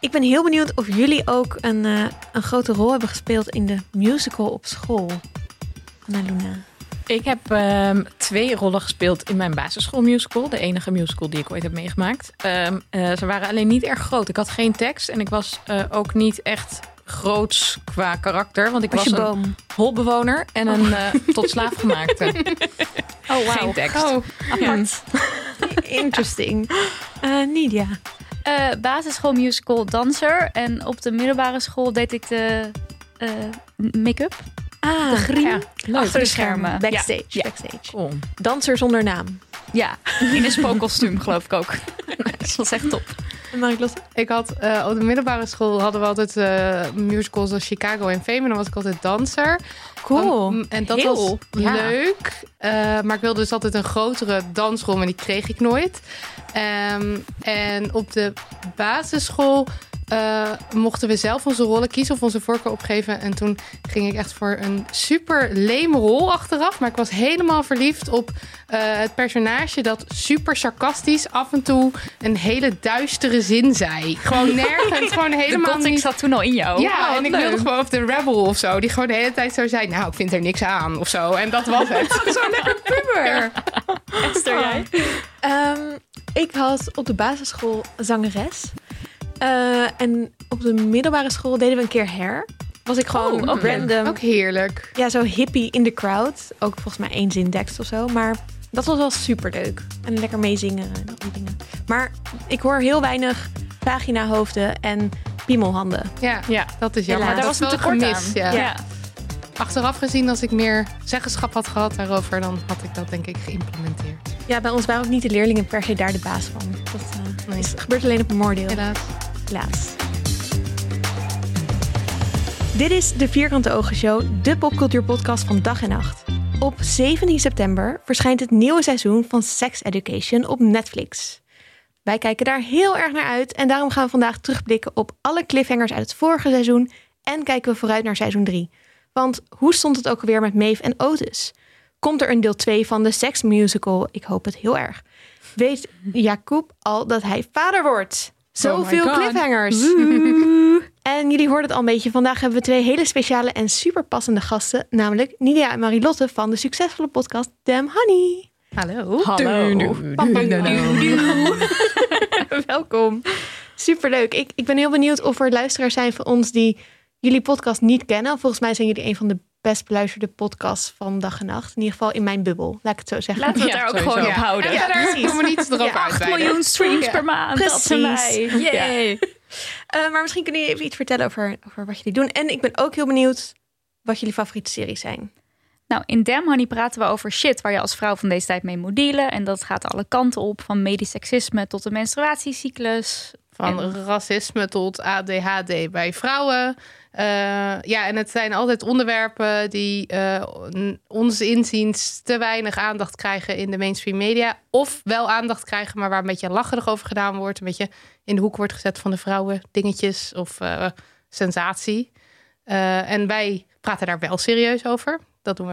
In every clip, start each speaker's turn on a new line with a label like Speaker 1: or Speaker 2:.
Speaker 1: Ik ben heel benieuwd of jullie ook een, eh, een grote rol hebben gespeeld in de musical op school. Anna Luna.
Speaker 2: Ik heb ehm, twee rollen gespeeld in mijn basisschoolmusical. De enige musical die ik ooit heb meegemaakt. Ehm, eh, ze waren alleen niet erg groot. Ik had geen tekst en ik was eh, ook niet echt groots qua karakter. Want ik
Speaker 1: Was
Speaker 2: was,
Speaker 1: je
Speaker 2: een
Speaker 1: boom?
Speaker 2: holbewoner en een
Speaker 3: Oh.
Speaker 2: eh, tot slaaf gemaakte.
Speaker 1: Oh,
Speaker 2: Geen tekst.
Speaker 4: Oh,
Speaker 1: Apart. Interesting. Eh, Nidia.
Speaker 4: eh basisschoolmusical danser. En op de middelbare school deed ik de eh, make-up.
Speaker 1: Ah,
Speaker 4: Griem.
Speaker 2: ja.
Speaker 4: Achter de schermen.
Speaker 1: Backstage.
Speaker 4: Ja.
Speaker 1: backstage.
Speaker 2: Cool.
Speaker 1: Danser zonder naam.
Speaker 4: Ja, in een spookkostuum geloof ik ook. dat was echt top.
Speaker 1: En Marit Lotte?
Speaker 3: Ik had eh, op de middelbare school hadden we altijd eh, musicals als Chicago en Fame. En dan was ik altijd danser.
Speaker 1: Cool.
Speaker 3: Um, en dat
Speaker 1: Heel.
Speaker 3: was
Speaker 2: Ja.
Speaker 3: leuk. Eh, maar ik wilde dus altijd een grotere dansrol, maar die kreeg ik nooit. Ehm, en op de basisschool eh, mochten we zelf onze rollen kiezen of onze voorkeur opgeven. En toen ging ik echt voor een super leme rol achteraf. Maar ik was helemaal verliefd op eh, het personage dat super sarcastisch af en toe een hele duistere zin zei. Gewoon nergens, gewoon helemaal
Speaker 4: de gothic
Speaker 3: niet
Speaker 4: zat toen al in jou.
Speaker 3: ja,
Speaker 4: Oh,
Speaker 3: en ik
Speaker 4: leuk.
Speaker 3: wilde gewoon of de rebel of zo. Die gewoon de hele tijd zo zei, nou, ik vind er niks aan of zo. En dat was het. zo lekker puber.
Speaker 4: Esther, jij?
Speaker 1: Ehm, ik was op de basisschool zangeres. Eh, en op de middelbare school deden we een keer hair. Was ik gewoon
Speaker 2: Oh, ook leuk.
Speaker 1: random.
Speaker 3: Ook heerlijk.
Speaker 1: Ja, zo hippie in de crowd. Ook volgens mij één zin tekst of zo. Maar dat was wel superleuk. En lekker meezingen en al die dingen. Maar ik hoor heel weinig vaginahoofden en piemelhanden.
Speaker 3: Ja,
Speaker 2: Ja.
Speaker 3: dat is jammer.
Speaker 1: Ja, daar
Speaker 3: dat
Speaker 4: was een
Speaker 3: is wel
Speaker 4: tekort
Speaker 3: gemist,
Speaker 4: Ja.
Speaker 3: Ja. Achteraf gezien, als ik meer zeggenschap had gehad daarover... dan had ik dat denk ik geïmplementeerd.
Speaker 1: Ja, bij ons waren ook niet de leerlingen per se daar de baas van. Dat eh,
Speaker 3: Nee.
Speaker 1: is, gebeurt alleen op een moordeel.
Speaker 3: Helaas.
Speaker 1: Helaas. Dit is de Vierkante Ogen Show, de popcultuurpodcast van dag en nacht. Op 17 september verschijnt het nieuwe seizoen van Sex Education op Netflix. Wij kijken daar heel erg naar uit en daarom gaan we vandaag terugblikken op alle cliffhangers uit het vorige seizoen en kijken we vooruit naar seizoen 3. Want hoe stond het ook alweer met Maeve en Otis? Komt er een deel 2 van de Sex Musical? Ik hoop het heel erg. Weet Jacob al dat hij vader wordt? Zoveel
Speaker 2: God.
Speaker 1: cliffhangers. en jullie hoorden het al een beetje. Vandaag hebben we twee hele speciale en super passende gasten. Namelijk Nidia en Marilotte van de succesvolle podcast Damn Honey.
Speaker 3: Hallo.
Speaker 2: Hallo.
Speaker 1: Welkom. Superleuk. Ik, ik ben heel benieuwd of er luisteraars zijn van ons die jullie podcast niet kennen. Volgens mij zijn jullie een van de best beluisterde podcasts van dag en nacht. In ieder geval in mijn bubbel, laat ik het zo zeggen.
Speaker 4: Laten we
Speaker 2: Ja,
Speaker 4: het daar ook
Speaker 2: sowieso.
Speaker 4: gewoon op
Speaker 2: Ja.
Speaker 4: houden.
Speaker 3: Ja, daar
Speaker 1: precies.
Speaker 3: komen we niet erop uit.
Speaker 4: 8
Speaker 3: bijna.
Speaker 4: miljoen streams
Speaker 3: Ja.
Speaker 4: per maand. Dat zijn wij.
Speaker 1: Precies.
Speaker 4: Yay.
Speaker 1: Eh, maar misschien kunnen jullie even iets vertellen over, over wat jullie doen. En ik ben ook heel benieuwd wat jullie favoriete series zijn.
Speaker 4: Nou, in Damn Honey praten we over shit waar je als vrouw van deze tijd mee moet dealen. En dat gaat alle kanten op, van medisch seksisme tot de menstruatiecyclus.
Speaker 3: Van
Speaker 4: En-
Speaker 3: racisme tot ADHD bij vrouwen. Eh, ja, en het zijn altijd onderwerpen die eh, n- ons inziens te weinig aandacht krijgen in de mainstream media. Of wel aandacht krijgen, maar waar een beetje lacherig over gedaan wordt. Een beetje in de hoek wordt gezet van de vrouwen dingetjes of eh, sensatie. Eh, en wij praten daar wel serieus over. Dat doen we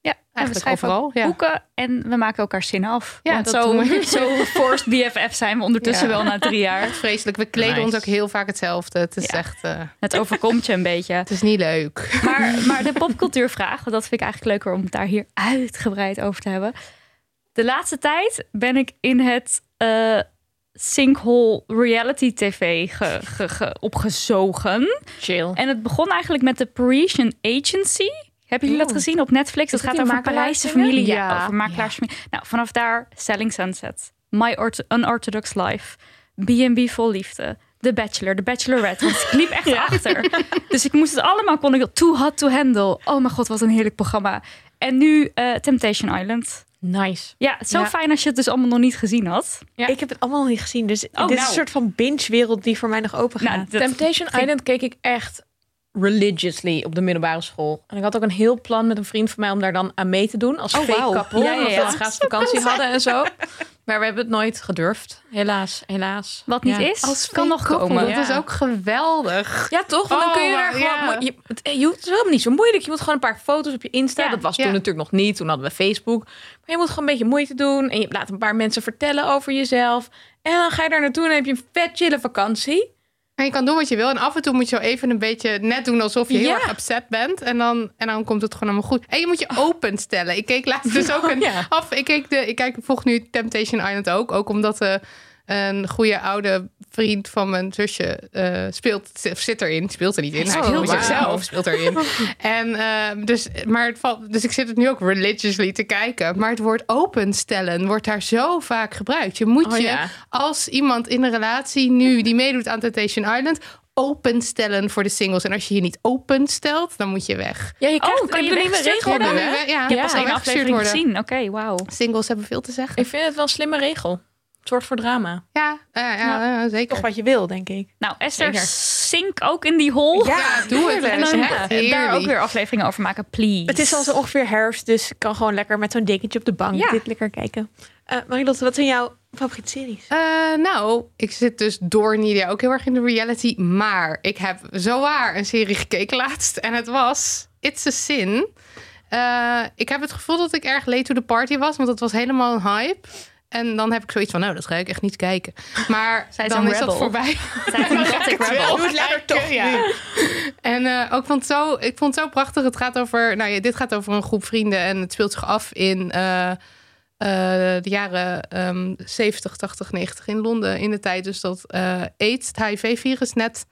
Speaker 4: Ja, en we
Speaker 3: eigenlijk
Speaker 4: schrijven
Speaker 3: overal. Ja.
Speaker 4: boeken en we maken elkaar zin af.
Speaker 3: Ja,
Speaker 4: Want
Speaker 3: dat
Speaker 4: zo,
Speaker 3: doen we.
Speaker 4: zo forced BFF zijn we ondertussen
Speaker 3: Ja.
Speaker 4: wel na drie jaar.
Speaker 3: Vreselijk. We kleden
Speaker 2: Nice.
Speaker 3: ons ook heel vaak hetzelfde. Het is
Speaker 4: Ja.
Speaker 3: echt, eh,
Speaker 4: Het overkomt je een beetje.
Speaker 3: het is niet leuk.
Speaker 4: Maar, maar de popcultuurvraag, want dat vind ik eigenlijk leuker om het daar hier uitgebreid over te hebben. De laatste tijd ben ik in het eh, sinkhole reality tv ge, ge- ge- opgezogen.
Speaker 2: Chill.
Speaker 4: En het begon eigenlijk met de Parisian Agency. Hebben jullie dat gezien op Netflix? Dat
Speaker 2: dat
Speaker 4: gaat
Speaker 2: die
Speaker 4: over Parijse familie. Ja,
Speaker 3: Ja.
Speaker 4: over makelaarsfamilie. Nou, vanaf daar Selling Sunset. My Ort- Unorthodox Life. B&B Vol Liefde. The Bachelor, The Bachelorette. Want ik liep echt achter. Dus ik moest het allemaal, kon ik too hot to handle. Oh mijn god, wat een heerlijk programma. En nu eh, Temptation Island.
Speaker 2: Nice.
Speaker 4: Ja, zo
Speaker 2: Ja.
Speaker 4: fijn als je het dus allemaal nog niet gezien had.
Speaker 2: Ja.
Speaker 1: Ik heb het allemaal nog niet gezien, dus dit is een
Speaker 4: nou.
Speaker 1: soort van binge-wereld die voor mij nog open gaat.
Speaker 4: Nou, dat-
Speaker 2: Temptation
Speaker 4: ging-
Speaker 2: Island keek ik echt religiously op de middelbare school. En ik had ook een heel plan met een vriend van mij om daar dan aan mee te doen. Als
Speaker 4: Oh,
Speaker 2: fake
Speaker 4: wauw.
Speaker 2: koppel.
Speaker 4: Ja, ja,
Speaker 2: omdat
Speaker 4: ja.
Speaker 2: we een gratis vakantie hadden en zo. Maar we hebben het nooit gedurfd. Helaas, helaas.
Speaker 4: Wat niet
Speaker 2: Ja.
Speaker 4: is, kan nog
Speaker 3: Koppel,
Speaker 4: komen.
Speaker 3: Dat
Speaker 2: Ja.
Speaker 3: is ook geweldig.
Speaker 2: Ja, toch? Want dan
Speaker 3: Oh,
Speaker 2: kun je daar
Speaker 3: maar-
Speaker 2: gewoon...
Speaker 3: ja.
Speaker 2: moet- Je, het, je hoeft- het is helemaal niet zo moeilijk. Je moet gewoon een paar foto's op je Insta.
Speaker 4: Ja,
Speaker 2: dat was
Speaker 3: ja.
Speaker 2: toen natuurlijk nog niet. Toen hadden we Facebook. Maar je moet gewoon een beetje moeite doen. En je laat een paar mensen vertellen over jezelf. En dan ga je daar naartoe en dan heb je een vet chille vakantie.
Speaker 3: En je kan doen wat je wil. En af en toe moet je wel even een beetje net doen alsof je heel
Speaker 2: Ja.
Speaker 3: erg upset bent. En dan, en dan komt het gewoon allemaal goed. En je moet je openstellen. Ik keek laatst dus ook een
Speaker 2: Oh, ja.
Speaker 3: af. Ik, keek de, ik kijk, volg nu Temptation Island ook. Ook omdat eh, een goede oude vriend van mijn zusje eh, speelt, zit erin. Speelt er niet in. Hij
Speaker 2: Oh,
Speaker 3: speelt
Speaker 2: wauw.
Speaker 3: zichzelf, speelt erin. en, eh, dus, maar het valt, dus ik zit het nu ook religiously te kijken. Maar het woord openstellen wordt daar zo vaak gebruikt. Je moet
Speaker 2: Oh,
Speaker 3: je
Speaker 2: ja.
Speaker 3: als iemand in een relatie nu die meedoet aan Temptation Island openstellen voor de singles. En als je je niet openstelt, dan moet je weg.
Speaker 2: Ja, je krijgt,
Speaker 4: Oh, kan je
Speaker 2: ik bedoel,
Speaker 4: weer
Speaker 2: regel-
Speaker 4: worden?
Speaker 3: Worden, hè? Ja,
Speaker 4: Ik heb pas
Speaker 3: kan
Speaker 4: één
Speaker 3: weggestuurd
Speaker 4: aflevering
Speaker 3: worden.
Speaker 4: gezien. Oké, wauw.
Speaker 3: Singles hebben veel te zeggen.
Speaker 2: Ik vind het wel een slimme regel. Het zorgt voor drama.
Speaker 3: Ja, eh, ja, eh, zeker.
Speaker 1: Toch wat je wil, denk ik.
Speaker 4: Nou, Esther,
Speaker 2: Zeker.
Speaker 4: zink ook in die hol.
Speaker 3: Ja, doe het.
Speaker 4: En dan
Speaker 3: Ja,
Speaker 4: daar
Speaker 3: heerlijk.
Speaker 4: ook weer afleveringen over maken, please.
Speaker 1: Het is al zo ongeveer herfst, dus ik kan gewoon lekker met zo'n dekentje op de bank
Speaker 4: Ja.
Speaker 1: dit lekker kijken. Eh Marilotte, wat zijn jouw favoriete series?
Speaker 3: Eh, nou, ik zit dus door Nidia ook heel erg in de reality. Maar ik heb zowaar een serie gekeken laatst. En het was It's a Sin. Eh, ik heb het gevoel dat ik erg late to the party was. Want het was helemaal een hype. En dan heb ik zoiets van, nou, dat ga ik echt niet kijken. Maar
Speaker 4: Zij is
Speaker 3: dan
Speaker 4: een
Speaker 3: is dat
Speaker 4: rebel.
Speaker 3: voorbij.
Speaker 4: Zij is een gothic rebel.
Speaker 3: het lekker toch, ja. En eh, ook vond het zo, ik vond het zo prachtig. Het gaat over, nou ja, dit gaat over een groep vrienden. En het speelt zich af in... eh, eh, de jaren ehm 70, 80, 90 in Londen. In de tijd dus dat eh, AIDS, het HIV-virus, net...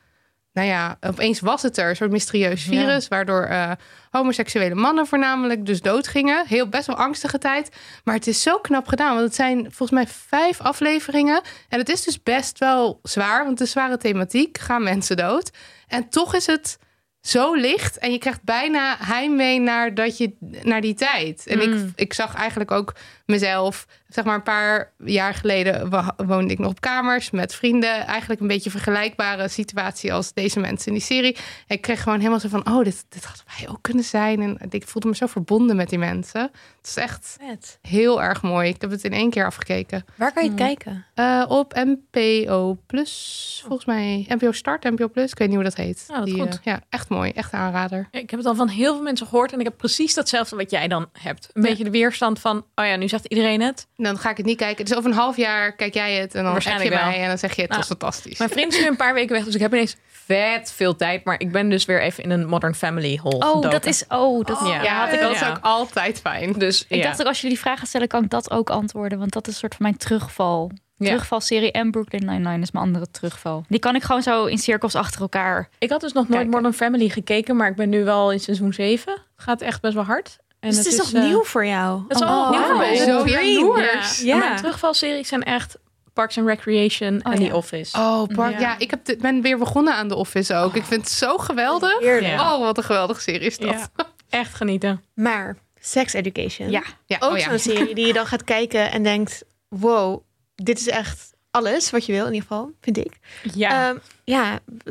Speaker 3: Nou ja, opeens was het er. Een soort mysterieus
Speaker 2: Ja.
Speaker 3: virus. Waardoor eh, homoseksuele mannen voornamelijk dus doodgingen. Heel best wel angstige tijd. Maar het is zo knap gedaan. Want het zijn volgens mij vijf afleveringen. En het is dus best wel zwaar. Want het is zware thematiek. Gaan mensen dood? En toch is het zo licht. En je krijgt bijna heimwee naar, dat je, naar die tijd. En ik, ik zag eigenlijk ook mezelf, zeg maar een paar jaar geleden wa- woonde ik nog op kamers met vrienden. Eigenlijk een beetje vergelijkbare situatie als deze mensen in die serie. En ik kreeg gewoon helemaal zo van, oh, dit, dit hadden wij ook kunnen zijn. En ik voelde me zo verbonden met die mensen. Het is echt heel erg mooi. Ik heb het in één keer afgekeken.
Speaker 1: Waar kan je het kijken?
Speaker 3: Eh, op NPO Plus, volgens mij. NPO Start, NPO Plus. Ik weet niet hoe dat heet.
Speaker 2: Oh, dat
Speaker 3: Die,
Speaker 2: goed.
Speaker 3: eh, ja, echt mooi. Echt een aanrader.
Speaker 2: Ik heb het al van heel veel mensen gehoord en ik heb precies datzelfde wat jij dan hebt. Een beetje de weerstand van, oh ja, nu zegt iedereen het.
Speaker 3: Dan ga ik het niet kijken. Dus over een half jaar kijk jij het en dan heb je
Speaker 2: Waarschijnlijk wel.
Speaker 3: mij en dan zeg je het
Speaker 2: Nou,
Speaker 3: was fantastisch.
Speaker 2: Mijn vriend is nu een paar weken weg, dus ik heb ineens vet veel tijd. Maar ik ben dus weer even in een Modern Family hol
Speaker 4: Oh,
Speaker 2: gedoken.
Speaker 4: dat is... Oh, dat,
Speaker 2: Oh,
Speaker 4: ja.
Speaker 3: ja,
Speaker 4: had ik
Speaker 3: dat
Speaker 4: ook.
Speaker 3: is
Speaker 2: ja.
Speaker 3: ook altijd fijn.
Speaker 2: Dus
Speaker 4: Ik
Speaker 2: ja.
Speaker 4: dacht ook, als jullie die vragen stellen, kan ik dat ook antwoorden. Want dat is een soort van mijn terugval.
Speaker 2: Ja.
Speaker 4: Terugvalserie en Brooklyn Nine-Nine is mijn andere terugval. Die kan ik gewoon zo in cirkels achter elkaar.
Speaker 2: ik had dus nog nooit
Speaker 4: Kijken.
Speaker 2: Modern Family gekeken, maar ik ben nu wel in seizoen 7. Het gaat echt best wel hard. En
Speaker 1: Dus het is, nog
Speaker 2: eh,
Speaker 1: nieuw voor jou.
Speaker 2: Het is allemaal
Speaker 1: Oh,
Speaker 2: nieuw voor mij.
Speaker 1: wauw.
Speaker 3: Zo jaloers.
Speaker 2: Ja.
Speaker 1: Ja.
Speaker 2: En Mijn terugvalseries zijn echt Parks and Recreation
Speaker 4: Oh,
Speaker 2: en
Speaker 4: ja.
Speaker 2: The Office.
Speaker 3: Oh, Park. Ja,
Speaker 2: Ja.
Speaker 3: ik heb de- ben weer begonnen aan The Office ook. Ik vind het zo geweldig.
Speaker 1: Heerlijk.
Speaker 2: Ja.
Speaker 3: Oh, wat een geweldige serie is dat.
Speaker 2: Ja. Echt genieten.
Speaker 1: Maar Sex Education.
Speaker 4: Ja.
Speaker 3: Ja,
Speaker 1: Ook
Speaker 3: oh ja.
Speaker 1: zo'n serie die je dan gaat kijken en denkt... wow, dit is echt alles wat je wil in ieder geval, vind ik.
Speaker 2: Ja.
Speaker 1: Ehm, ja, w-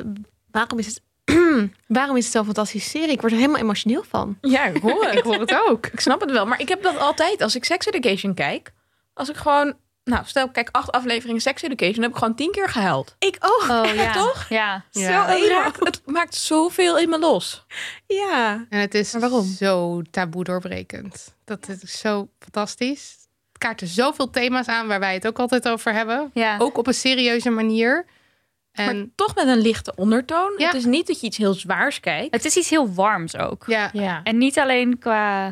Speaker 1: waarom is het... Waarom is het zo'n fantastische serie? Ik word er helemaal emotioneel van.
Speaker 2: ja, ik hoor het.
Speaker 3: Ik hoor het ook.
Speaker 2: Ik snap het wel, maar ik heb dat altijd als ik Sex Education kijk. Als ik gewoon, nou stel ik kijk acht afleveringen Sex Education, dan heb ik gewoon tien keer gehuild.
Speaker 1: Ik ook.
Speaker 4: Oh,
Speaker 2: ja. toch?
Speaker 4: Ja.
Speaker 3: Ja.
Speaker 2: Het raakt- het maakt zoveel in me los.
Speaker 1: Ja.
Speaker 3: En het is
Speaker 1: Maar waarom?
Speaker 3: zo taboe doorbrekend. Dat is zo fantastisch. Het kaart er zoveel thema's aan waar wij het ook altijd over hebben.
Speaker 4: Ja.
Speaker 3: Ook op een serieuze manier. En
Speaker 2: maar toch met een lichte ondertoon.
Speaker 3: Ja.
Speaker 2: Het is niet dat je iets heel zwaars kijkt.
Speaker 4: Het is iets heel warms ook.
Speaker 3: ja,
Speaker 2: Ja.
Speaker 4: En niet alleen qua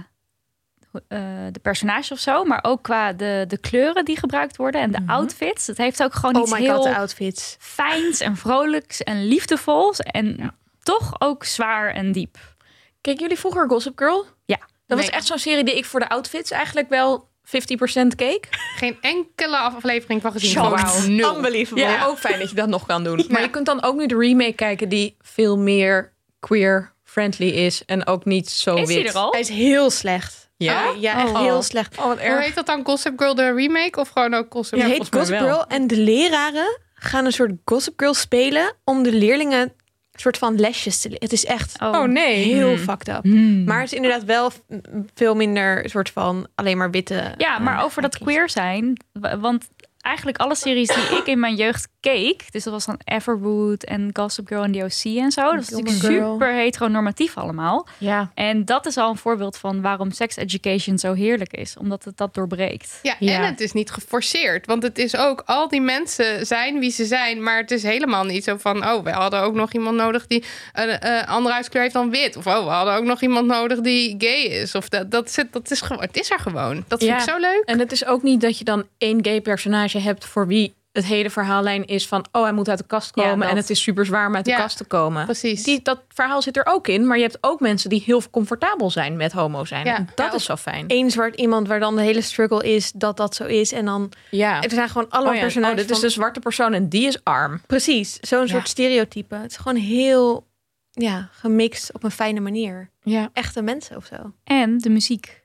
Speaker 4: eh, de personage of zo, maar ook qua de, de kleuren die gebruikt worden en de outfits. Het heeft ook gewoon iets
Speaker 1: Mhm. Oh my god,
Speaker 4: heel
Speaker 1: de outfits.
Speaker 4: fijns en vrolijks en liefdevols. En toch ook zwaar en diep.
Speaker 2: Keken jullie vroeger Gossip Girl?
Speaker 4: Ja.
Speaker 2: Dat
Speaker 3: Nee.
Speaker 2: was echt zo'n serie die ik voor de outfits eigenlijk wel 50% keek.
Speaker 3: geen enkele aflevering van gezien.
Speaker 2: Shocked.
Speaker 3: Gewoon nul.
Speaker 1: Unbelievable.
Speaker 2: Ja, ook fijn dat je dat nog kan doen. Maar je kunt dan ook nu de remake kijken die veel meer queer-friendly is. En ook niet zo
Speaker 4: Is
Speaker 2: wit.
Speaker 4: hij er al?
Speaker 1: Oh, Hij is heel slecht.
Speaker 2: Ja?
Speaker 1: Ja, echt
Speaker 2: Oh.
Speaker 1: heel slecht.
Speaker 2: Oh, wat erg.
Speaker 3: Hoe heet dat dan? Gossip Girl de remake of gewoon ook Gossip
Speaker 1: Het
Speaker 3: Girl?
Speaker 1: heet
Speaker 2: volgens mij
Speaker 1: Gossip
Speaker 2: wel.
Speaker 1: Girl en de leraren gaan een soort Gossip Girl spelen om de leerlingen een soort van lesjes te leren. Het is echt
Speaker 4: Oh.
Speaker 2: nee.
Speaker 1: heel fucked up.
Speaker 4: Hmm.
Speaker 1: Maar het is inderdaad wel f- veel minder soort van alleen maar witte. Oh,
Speaker 4: Ja, maar over dat
Speaker 1: kies.
Speaker 4: queer zijn. w- Want eigenlijk alle series die ik in mijn jeugd keek. Dus dat was dan Everwood en Gossip Girl en The OC en zo. Dat was
Speaker 1: Gilmore
Speaker 4: natuurlijk
Speaker 1: Girl.
Speaker 4: super heteronormatief allemaal.
Speaker 2: Ja.
Speaker 4: En dat is al een voorbeeld van waarom sex education zo heerlijk is. Omdat het dat doorbreekt.
Speaker 3: Ja,
Speaker 2: Ja.
Speaker 3: en het is niet geforceerd. Want het is ook, al die mensen zijn wie ze zijn. Maar het is helemaal niet zo van, oh, we hadden ook nog iemand nodig die een eh, andere huidskleur heeft dan wit. Of oh, we hadden ook nog iemand nodig die gay is. Of dat, dat, zit- dat is gewoon, het is er gewoon. Dat vind
Speaker 2: Ja.
Speaker 3: ik zo leuk.
Speaker 2: En het is ook niet dat je dan één gay personage hebt voor wie het hele verhaallijn is van oh hij moet uit de kast
Speaker 4: Ja,
Speaker 2: komen
Speaker 4: dat.
Speaker 2: en het is super zwaar om uit de
Speaker 3: Ja,
Speaker 2: kast te komen.
Speaker 3: Precies.
Speaker 2: Die, dat verhaal zit er ook in, maar je hebt ook mensen die heel comfortabel zijn met homo zijn.
Speaker 3: Ja.
Speaker 2: En dat
Speaker 3: Ja,
Speaker 2: is zo fijn.
Speaker 1: Eén zwart iemand waar dan de hele struggle is dat dat zo is. En dan
Speaker 2: Ja.
Speaker 1: er zijn gewoon alle
Speaker 2: Oh ja,
Speaker 1: personages.
Speaker 2: oh, dit
Speaker 1: van-
Speaker 2: is de zwarte persoon en die is arm.
Speaker 1: Precies, zo'n soort stereotype. Het is gewoon heel ja, gemixt op een fijne manier.
Speaker 2: Ja.
Speaker 1: Echte mensen of zo.
Speaker 4: En de muziek.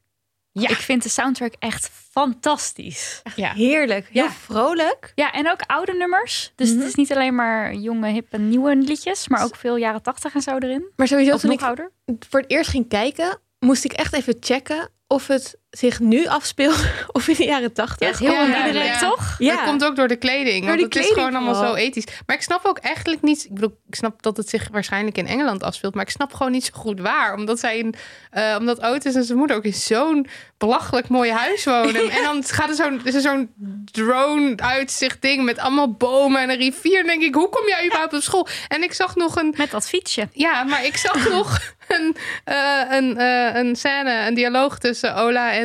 Speaker 2: Ja.
Speaker 4: Ik vind de soundtrack echt fantastisch.
Speaker 2: Ja.
Speaker 1: Heerlijk, heel
Speaker 2: Ja.
Speaker 1: vrolijk.
Speaker 4: Ja, en ook oude nummers. Dus
Speaker 2: Mhm.
Speaker 4: het is niet alleen maar jonge, hippe, nieuwe liedjes. Maar ook veel jaren tachtig en zo erin.
Speaker 1: Maar sowieso
Speaker 4: Of
Speaker 1: toen
Speaker 4: nog
Speaker 1: ik
Speaker 4: ouder.
Speaker 1: voor het eerst ging kijken, moest ik echt even checken of het zich nu afspeelt of in de jaren
Speaker 4: Ja, het
Speaker 1: tachtig.
Speaker 4: is heel
Speaker 3: Ja,
Speaker 4: onduidelijk,
Speaker 3: ja.
Speaker 4: toch?
Speaker 1: Ja,
Speaker 3: Dat komt ook door de kleding.
Speaker 1: Door
Speaker 3: want
Speaker 1: die
Speaker 3: het
Speaker 1: kleding
Speaker 3: is gewoon allemaal
Speaker 1: vooral.
Speaker 3: zo ethisch. Maar ik snap ook eigenlijk niet. Ik bedoel, ik snap dat het zich waarschijnlijk in Engeland afspeelt. Maar ik snap gewoon niet zo goed waar. Omdat zij in, eh, omdat Otis en zijn moeder ook in zo'n belachelijk mooi huis wonen. En dan gaat er zo'n is er zo'n drone uitzicht ding met allemaal bomen en een rivier. En denk ik, hoe kom jij überhaupt op school? En ik zag nog een
Speaker 4: Met dat fietsje.
Speaker 3: ja, maar ik zag nog een, eh, een, eh, een scène, een dialoog tussen Ola en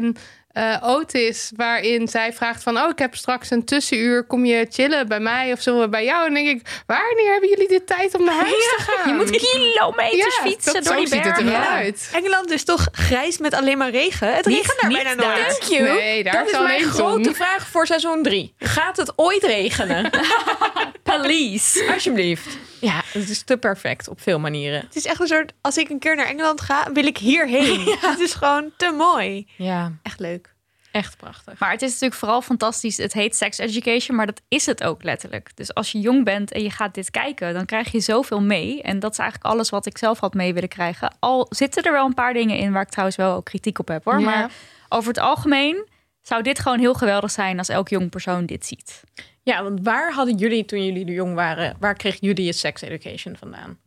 Speaker 3: eh, Otis. Waarin zij vraagt van, oh, ik heb straks een tussenuur. Kom je chillen bij mij of zullen we bij jou? En dan denk ik, wanneer hebben jullie de tijd om naar huis te gaan?
Speaker 4: Je moet kilometers
Speaker 3: Ja,
Speaker 4: fietsen
Speaker 3: dat,
Speaker 4: door
Speaker 3: zo
Speaker 4: die
Speaker 3: ziet
Speaker 4: bergen.
Speaker 3: het er wel
Speaker 4: Ja.
Speaker 3: uit.
Speaker 1: Engeland is toch grijs met alleen maar regen? Het regent daar
Speaker 4: niet
Speaker 1: bijna
Speaker 4: daar.
Speaker 1: nooit.
Speaker 2: Thank you.
Speaker 3: Nee, daar
Speaker 2: dat
Speaker 3: is
Speaker 2: is mijn
Speaker 3: alleen
Speaker 2: grote
Speaker 3: zon.
Speaker 2: vraag voor seizoen 3. Gaat het ooit regenen?
Speaker 4: Police.
Speaker 2: Alsjeblieft. Ja, het is te perfect op veel manieren.
Speaker 1: Het is echt een soort, als ik een keer naar Engeland ga, wil ik hierheen. Het is gewoon te mooi.
Speaker 2: Ja,
Speaker 1: Echt leuk.
Speaker 2: echt prachtig.
Speaker 4: Maar het is natuurlijk vooral fantastisch. Het heet sex education, maar dat is het ook letterlijk. Dus als je jong bent en je gaat dit kijken, dan krijg je zoveel mee. En dat is eigenlijk alles wat ik zelf had mee willen krijgen. Al zitten er wel een paar dingen in waar ik trouwens wel ook kritiek op heb hoor.
Speaker 3: Ja.
Speaker 4: Maar over het algemeen zou dit gewoon heel geweldig zijn als elk jong persoon dit ziet.
Speaker 2: Ja, want waar hadden jullie toen jullie jong waren, waar kregen jullie je sex education vandaan?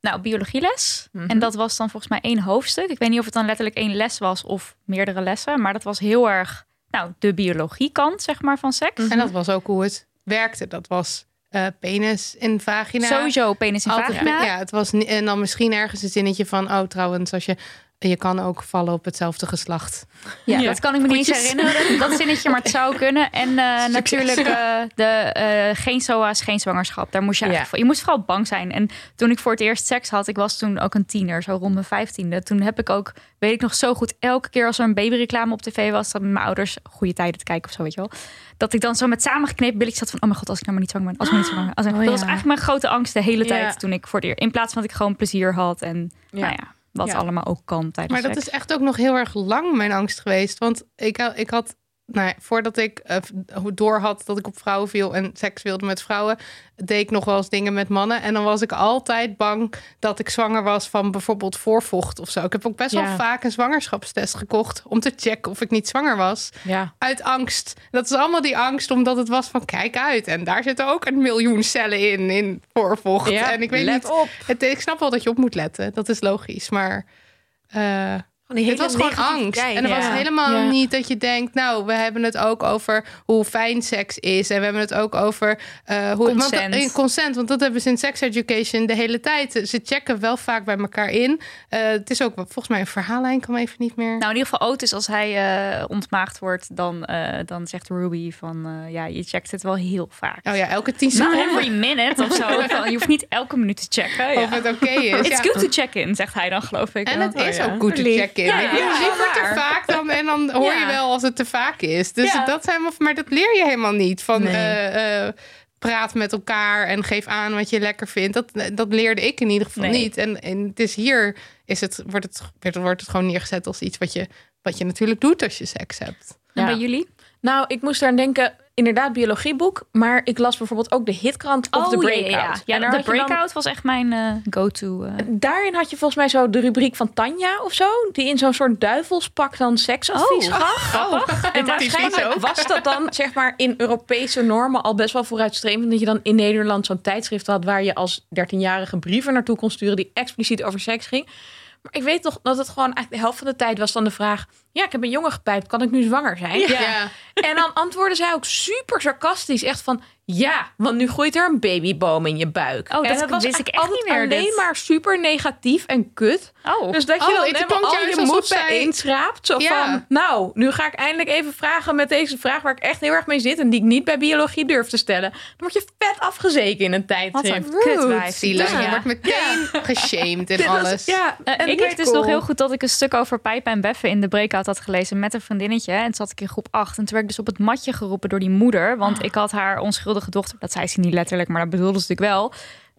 Speaker 4: Nou, biologieles.
Speaker 2: Mhm.
Speaker 4: En dat was dan volgens mij één hoofdstuk. Ik weet niet of het dan letterlijk één les was of meerdere lessen. Maar dat was heel erg, nou, de biologiekant, zeg maar, van seks.
Speaker 3: En dat was ook hoe het werkte. Dat was eh, penis en vagina.
Speaker 4: Sowieso penis en
Speaker 3: eh, Altijd-
Speaker 4: vagina.
Speaker 3: Ja, het was ni- en dan misschien ergens een zinnetje van, oh, trouwens, als je... Je kan ook vallen op hetzelfde geslacht.
Speaker 4: Ja,
Speaker 2: Ja.
Speaker 4: dat kan ik me niet eens
Speaker 2: Goedjes.
Speaker 4: herinneren. Dat zinnetje, maar het zou kunnen. En eh, natuurlijk eh, de eh, geen SOA's, geen zwangerschap. Daar moest je
Speaker 2: Ja.
Speaker 4: eigenlijk voor. Je moest vooral bang zijn. En toen ik voor het eerst seks had, ik was toen ook een tiener, zo rond mijn vijftiende. Toen heb ik ook, weet ik nog zo goed, elke keer als er een babyreclame op tv was, dat mijn ouders goede tijden te kijken of zo, weet je wel. Dat ik dan zo met samengeknepen billetjes zat van, oh mijn god, als ik nou maar niet zwanger ben, als ik maar niet zwanger ben. Als ik-
Speaker 2: Oh
Speaker 4: dat
Speaker 2: ja.
Speaker 4: was eigenlijk mijn grote angst de hele
Speaker 2: Ja.
Speaker 4: tijd toen ik voor het eerst, in plaats van dat ik gewoon plezier had en,
Speaker 2: Ja.
Speaker 4: nou ja, wat
Speaker 2: Ja.
Speaker 4: allemaal ook kan tijdens
Speaker 3: Maar dat
Speaker 4: seks.
Speaker 3: is echt ook nog heel erg lang mijn angst geweest. Want ik, ik had, nou ja, voordat ik eh, door had dat ik op vrouwen viel en seks wilde met vrouwen, deed ik nog wel eens dingen met mannen. En dan was ik altijd bang dat ik zwanger was van bijvoorbeeld voorvocht of zo. Ik heb ook best
Speaker 2: Ja.
Speaker 3: wel vaak een zwangerschapstest gekocht om te checken of ik niet zwanger was.
Speaker 2: Ja.
Speaker 3: Uit angst. Dat is allemaal die angst omdat het was van kijk uit. En daar zitten ook een miljoen cellen in, in voorvocht. en ik weet
Speaker 2: let
Speaker 3: niet.
Speaker 2: op.
Speaker 3: Het, ik snap wel dat je op moet letten. Dat is logisch. Maar. eh,
Speaker 1: Gewoon een
Speaker 3: het
Speaker 1: hele
Speaker 3: was gewoon angst.
Speaker 1: negativiteit.
Speaker 3: En er
Speaker 4: ja.
Speaker 3: was helemaal
Speaker 2: Ja.
Speaker 3: niet dat je denkt, nou, we hebben het ook over hoe fijn seks is. En we hebben het ook over eh, hoe
Speaker 4: Consent.
Speaker 3: Want, eh, consent. Want dat hebben ze in sex education de hele tijd. Ze checken wel vaak bij elkaar in. Eh, het is ook volgens mij een verhaallijn, kan even niet meer.
Speaker 4: Nou, in ieder geval Otis, als hij eh, ontmaagd wordt, dan, eh, dan zegt Ruby van... eh, ja, je checkt het wel heel vaak.
Speaker 3: oh ja, elke tien
Speaker 4: Not
Speaker 3: seconden.
Speaker 4: every minute of zo. Van, Je hoeft niet elke minuut te checken.
Speaker 3: Of
Speaker 4: Oh Ja.
Speaker 3: het oké is.
Speaker 4: It's
Speaker 3: Ja.
Speaker 4: good to check in, zegt hij dan, geloof ik.
Speaker 3: En
Speaker 4: Dan,
Speaker 3: het is
Speaker 2: ja.
Speaker 3: ook goed te
Speaker 1: Lief.
Speaker 3: checken.
Speaker 4: Ja,
Speaker 3: Ik bedoel,
Speaker 4: ja,
Speaker 3: je ziet het
Speaker 4: waar.
Speaker 3: te vaak dan en dan hoor
Speaker 4: Ja.
Speaker 3: je wel als het te vaak is. Dus
Speaker 4: Ja.
Speaker 3: dat zijn, maar dat leer je helemaal niet. Van
Speaker 2: Nee.
Speaker 3: eh, eh, praat met elkaar en geef aan wat je lekker vindt. Dat, eh, dat leerde ik in ieder geval
Speaker 4: Nee.
Speaker 3: niet. En, en het is hier is het, wordt, het, werd- wordt het gewoon neergezet als iets wat je, wat je natuurlijk doet als je seks hebt.
Speaker 4: En
Speaker 2: Ja.
Speaker 4: bij jullie?
Speaker 2: Nou, ik moest eraan denken, inderdaad, biologieboek. Maar ik las bijvoorbeeld ook de hitkrant of de
Speaker 4: Oh, ja, ja,
Speaker 2: breakout.
Speaker 4: ja, ja.
Speaker 2: En daar
Speaker 4: de
Speaker 2: had je dan-
Speaker 4: breakout was echt mijn eh, go-to. eh.
Speaker 2: daarin had je volgens mij zo de rubriek van Tanja of zo. Die in zo'n soort duivelspak dan seksadvies
Speaker 4: Oh,
Speaker 2: gaf.
Speaker 4: grappig.
Speaker 2: En waarschijnlijk was dat dan, zeg maar, in Europese normen al best wel vooruitstrevend. Dat je dan in Nederland zo'n tijdschrift had waar je als 13-jarige brieven naartoe kon sturen die expliciet over seks ging. Maar ik weet toch dat het gewoon eigenlijk de helft van de tijd was dan de vraag: Ja, ik heb een jongen gepijpt, kan ik nu zwanger zijn?
Speaker 3: Ja.
Speaker 2: En dan antwoordde zij ook super sarcastisch. Echt van, ja, want nu groeit er een babyboom in je buik.
Speaker 4: Oh,
Speaker 2: En
Speaker 4: dat
Speaker 2: was
Speaker 4: wist
Speaker 2: eigenlijk
Speaker 4: ik echt niet
Speaker 2: altijd
Speaker 4: meer,
Speaker 2: alleen
Speaker 4: dit.
Speaker 2: maar super negatief en kut.
Speaker 4: Oh,
Speaker 2: Dus dat je
Speaker 3: Oh,
Speaker 2: dan
Speaker 3: het
Speaker 2: helemaal
Speaker 3: klonk
Speaker 2: al
Speaker 3: juist
Speaker 2: je
Speaker 3: alsof
Speaker 2: moed
Speaker 3: zij-
Speaker 2: bijeen schraapt. Zo
Speaker 3: Ja.
Speaker 2: van, nou, nu ga ik eindelijk even vragen met deze vraag... waar ik echt heel erg mee zit en die ik niet bij biologie durf te stellen. Dan word je vet afgezeken in een
Speaker 4: wat een
Speaker 2: tijdschrift.
Speaker 4: kutwijf.
Speaker 3: Zielig.
Speaker 4: Ja.
Speaker 3: Je wordt meteen geshamed en
Speaker 2: Dit was-
Speaker 3: alles.
Speaker 2: ja,
Speaker 4: Eh,
Speaker 2: en
Speaker 4: ik
Speaker 2: niet
Speaker 4: weet dus
Speaker 2: cool.
Speaker 4: nog heel goed dat ik een stuk over pijpen en beffen in de breakout had gelezen met een vriendinnetje. En toen zat ik in groep 8. En toen werd ik dus op het matje geroepen door die moeder.
Speaker 2: Ah.
Speaker 4: Want ik had haar onschuldige dochter, dat zei ze niet letterlijk, maar dat bedoelde ze natuurlijk wel.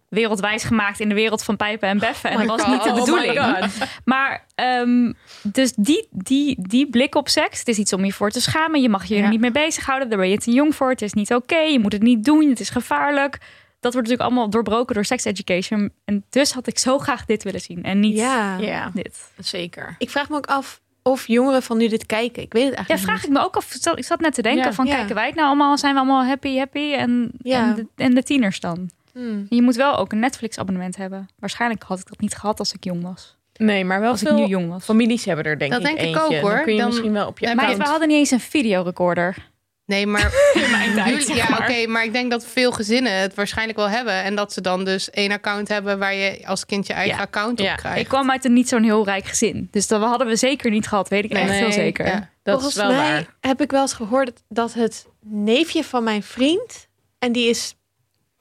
Speaker 4: Wereldwijs gemaakt in de wereld van pijpen en beffen. En dat was
Speaker 2: God.
Speaker 4: niet de
Speaker 2: Oh my
Speaker 4: bedoeling.
Speaker 2: God.
Speaker 4: maar ehm, dus die, die, die blik op seks, het is iets om je voor te schamen. Je mag je er
Speaker 2: Ja.
Speaker 4: niet mee bezighouden. Daar ben je te jong voor. Het is niet oké. Je moet het niet doen. Het is gevaarlijk. Dat wordt natuurlijk allemaal doorbroken door sex education. En dus had ik zo graag dit willen zien. En niet
Speaker 1: Ja.
Speaker 2: Ja,
Speaker 4: dit.
Speaker 2: zeker.
Speaker 1: Ik vraag me ook af of jongeren van nu dit kijken. Ik weet het
Speaker 4: Ja,
Speaker 1: eigenlijk
Speaker 4: vraag ik me ook af. stel- Ik zat net te denken
Speaker 2: Ja.
Speaker 4: van,
Speaker 1: Ja.
Speaker 4: kijken wij het nou allemaal? Zijn we allemaal happy, happy? En,
Speaker 1: Ja.
Speaker 4: en, de, en de tieners dan?
Speaker 1: niet. Hmm.
Speaker 4: Je moet wel ook een Netflix abonnement hebben. Waarschijnlijk had ik dat niet gehad als ik jong was.
Speaker 2: Nee, maar wel
Speaker 4: als ik
Speaker 2: veel
Speaker 4: nu jong was.
Speaker 2: families hebben er denk
Speaker 3: Dat
Speaker 2: ik
Speaker 3: denk ik
Speaker 2: eentje.
Speaker 3: ook, hoor.
Speaker 2: Dan kun je
Speaker 3: Dan-
Speaker 2: misschien wel op je
Speaker 3: Nee,
Speaker 4: Maar
Speaker 3: maar-
Speaker 4: we hadden niet eens een videorecorder.
Speaker 3: Nee, maar
Speaker 4: tijd,
Speaker 3: jullie-
Speaker 4: zeg
Speaker 3: ja,
Speaker 4: maar.
Speaker 3: oké, maar ik denk dat veel gezinnen het waarschijnlijk wel hebben. En dat ze dan dus één account hebben waar je als kind je eigen
Speaker 4: Ja.
Speaker 3: account op
Speaker 2: Ja,
Speaker 3: krijgt.
Speaker 4: Ik kwam uit een niet zo'n heel rijk gezin. Dus dat hadden we zeker niet gehad. Weet ik
Speaker 2: Nee.
Speaker 4: echt heel
Speaker 2: Nee,
Speaker 4: zeker.
Speaker 3: ja.
Speaker 2: Dat is
Speaker 1: Volgens
Speaker 2: wel
Speaker 1: mij
Speaker 2: waar.
Speaker 1: heb ik wel eens gehoord dat het neefje van mijn vriend, en die is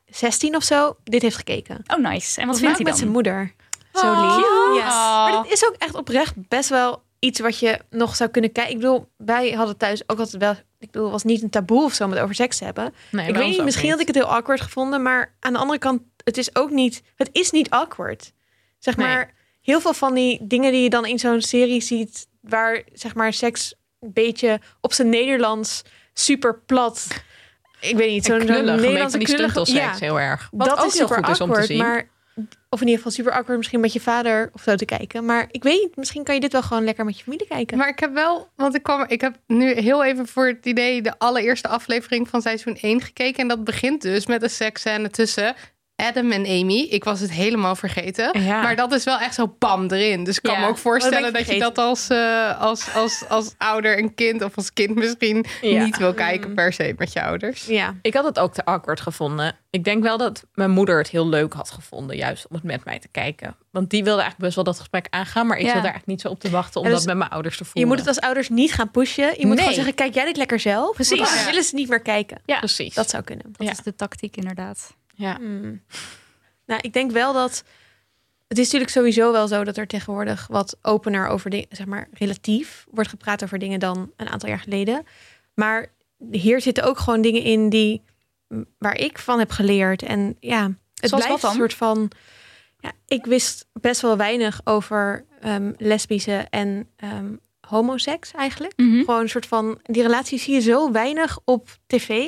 Speaker 1: 16 of zo, dit heeft gekeken.
Speaker 4: Oh, nice. En wat
Speaker 1: Volgens mij
Speaker 4: vindt
Speaker 1: ook
Speaker 4: hij
Speaker 1: met
Speaker 4: dan?
Speaker 1: zijn moeder. Zo
Speaker 2: Oh,
Speaker 1: lief.
Speaker 2: cute.
Speaker 1: Yes. Maar dat is ook echt oprecht best wel iets wat je nog zou kunnen kijken. Ik bedoel, wij hadden thuis ook altijd wel... Ik bedoel, het was niet een taboe of zo om het over seks te hebben.
Speaker 2: Nee,
Speaker 1: ik
Speaker 2: bij
Speaker 1: weet
Speaker 2: ons
Speaker 1: niet,
Speaker 2: ook
Speaker 1: misschien had ik het heel awkward gevonden. Maar aan de andere kant, het is ook niet... Het is niet awkward. Zeg
Speaker 2: Nee.
Speaker 1: maar, heel veel van die dingen die je dan in zo'n serie ziet... waar, zeg maar, seks een beetje op zijn Nederlands super plat... Ik weet niet,
Speaker 2: En
Speaker 1: zo'n zo'n
Speaker 2: knullig, een beetje
Speaker 1: Nederlandse
Speaker 2: van die
Speaker 1: knullige-
Speaker 2: stuntelseks
Speaker 1: ja,
Speaker 2: heel erg. Wat
Speaker 1: dat
Speaker 2: ook
Speaker 1: is
Speaker 2: heel
Speaker 1: super
Speaker 2: goed is om te
Speaker 1: awkward,
Speaker 2: zien.
Speaker 1: Maar, of in ieder geval super awkward misschien met je vader of zo te kijken. Maar ik weet niet, misschien kan je dit wel gewoon lekker met je familie kijken.
Speaker 3: Maar ik heb wel, want ik kwam, ik heb nu heel even voor het idee de allereerste aflevering van seizoen 1 gekeken. En dat begint dus met een seksscène tussen Adam en Amy. Ik was het helemaal vergeten.
Speaker 2: Ja.
Speaker 3: Maar dat is wel echt zo bam erin. Dus ik kan
Speaker 4: Ja.
Speaker 3: me ook voorstellen
Speaker 1: Oh, dat ben
Speaker 3: dat
Speaker 1: ik
Speaker 3: je dat als, eh, als, als, als ouder en kind of als kind misschien
Speaker 2: Ja.
Speaker 3: niet
Speaker 1: Mm.
Speaker 3: wil kijken per se met je ouders.
Speaker 1: ja.
Speaker 2: Ik had het ook te awkward gevonden. Ik denk wel dat mijn moeder het heel leuk had gevonden, juist om het met mij te kijken. Want die wilde eigenlijk best wel dat gesprek aangaan, maar ik
Speaker 4: Ja.
Speaker 2: zat daar eigenlijk niet zo op te wachten om
Speaker 1: Ja, dus
Speaker 2: dat met mijn ouders te voelen.
Speaker 1: Je moet het als ouders niet gaan pushen. Je moet
Speaker 2: Nee.
Speaker 1: gewoon zeggen, kijk jij dit lekker zelf.
Speaker 4: Precies.
Speaker 1: Want dan
Speaker 3: Ja.
Speaker 1: willen ze niet meer kijken.
Speaker 4: Ja,
Speaker 2: Precies.
Speaker 1: Dat zou kunnen.
Speaker 4: Dat
Speaker 2: Ja.
Speaker 4: is de tactiek inderdaad.
Speaker 2: ja.
Speaker 1: Hmm. Nou, ik denk wel dat... Het is natuurlijk sowieso wel zo dat er tegenwoordig wat opener over dingen, zeg maar relatief, wordt gepraat over dingen dan een aantal jaar geleden. Maar hier zitten ook gewoon dingen in die, waar ik van heb geleerd. En ja, het
Speaker 4: Zoals wat
Speaker 1: blijft
Speaker 4: dan?
Speaker 1: een soort van... Ja, ik wist best wel weinig over ehm, lesbische en ehm, homoseks eigenlijk.
Speaker 4: Hm?
Speaker 1: Gewoon een soort van, die relatie zie je zo weinig op tv.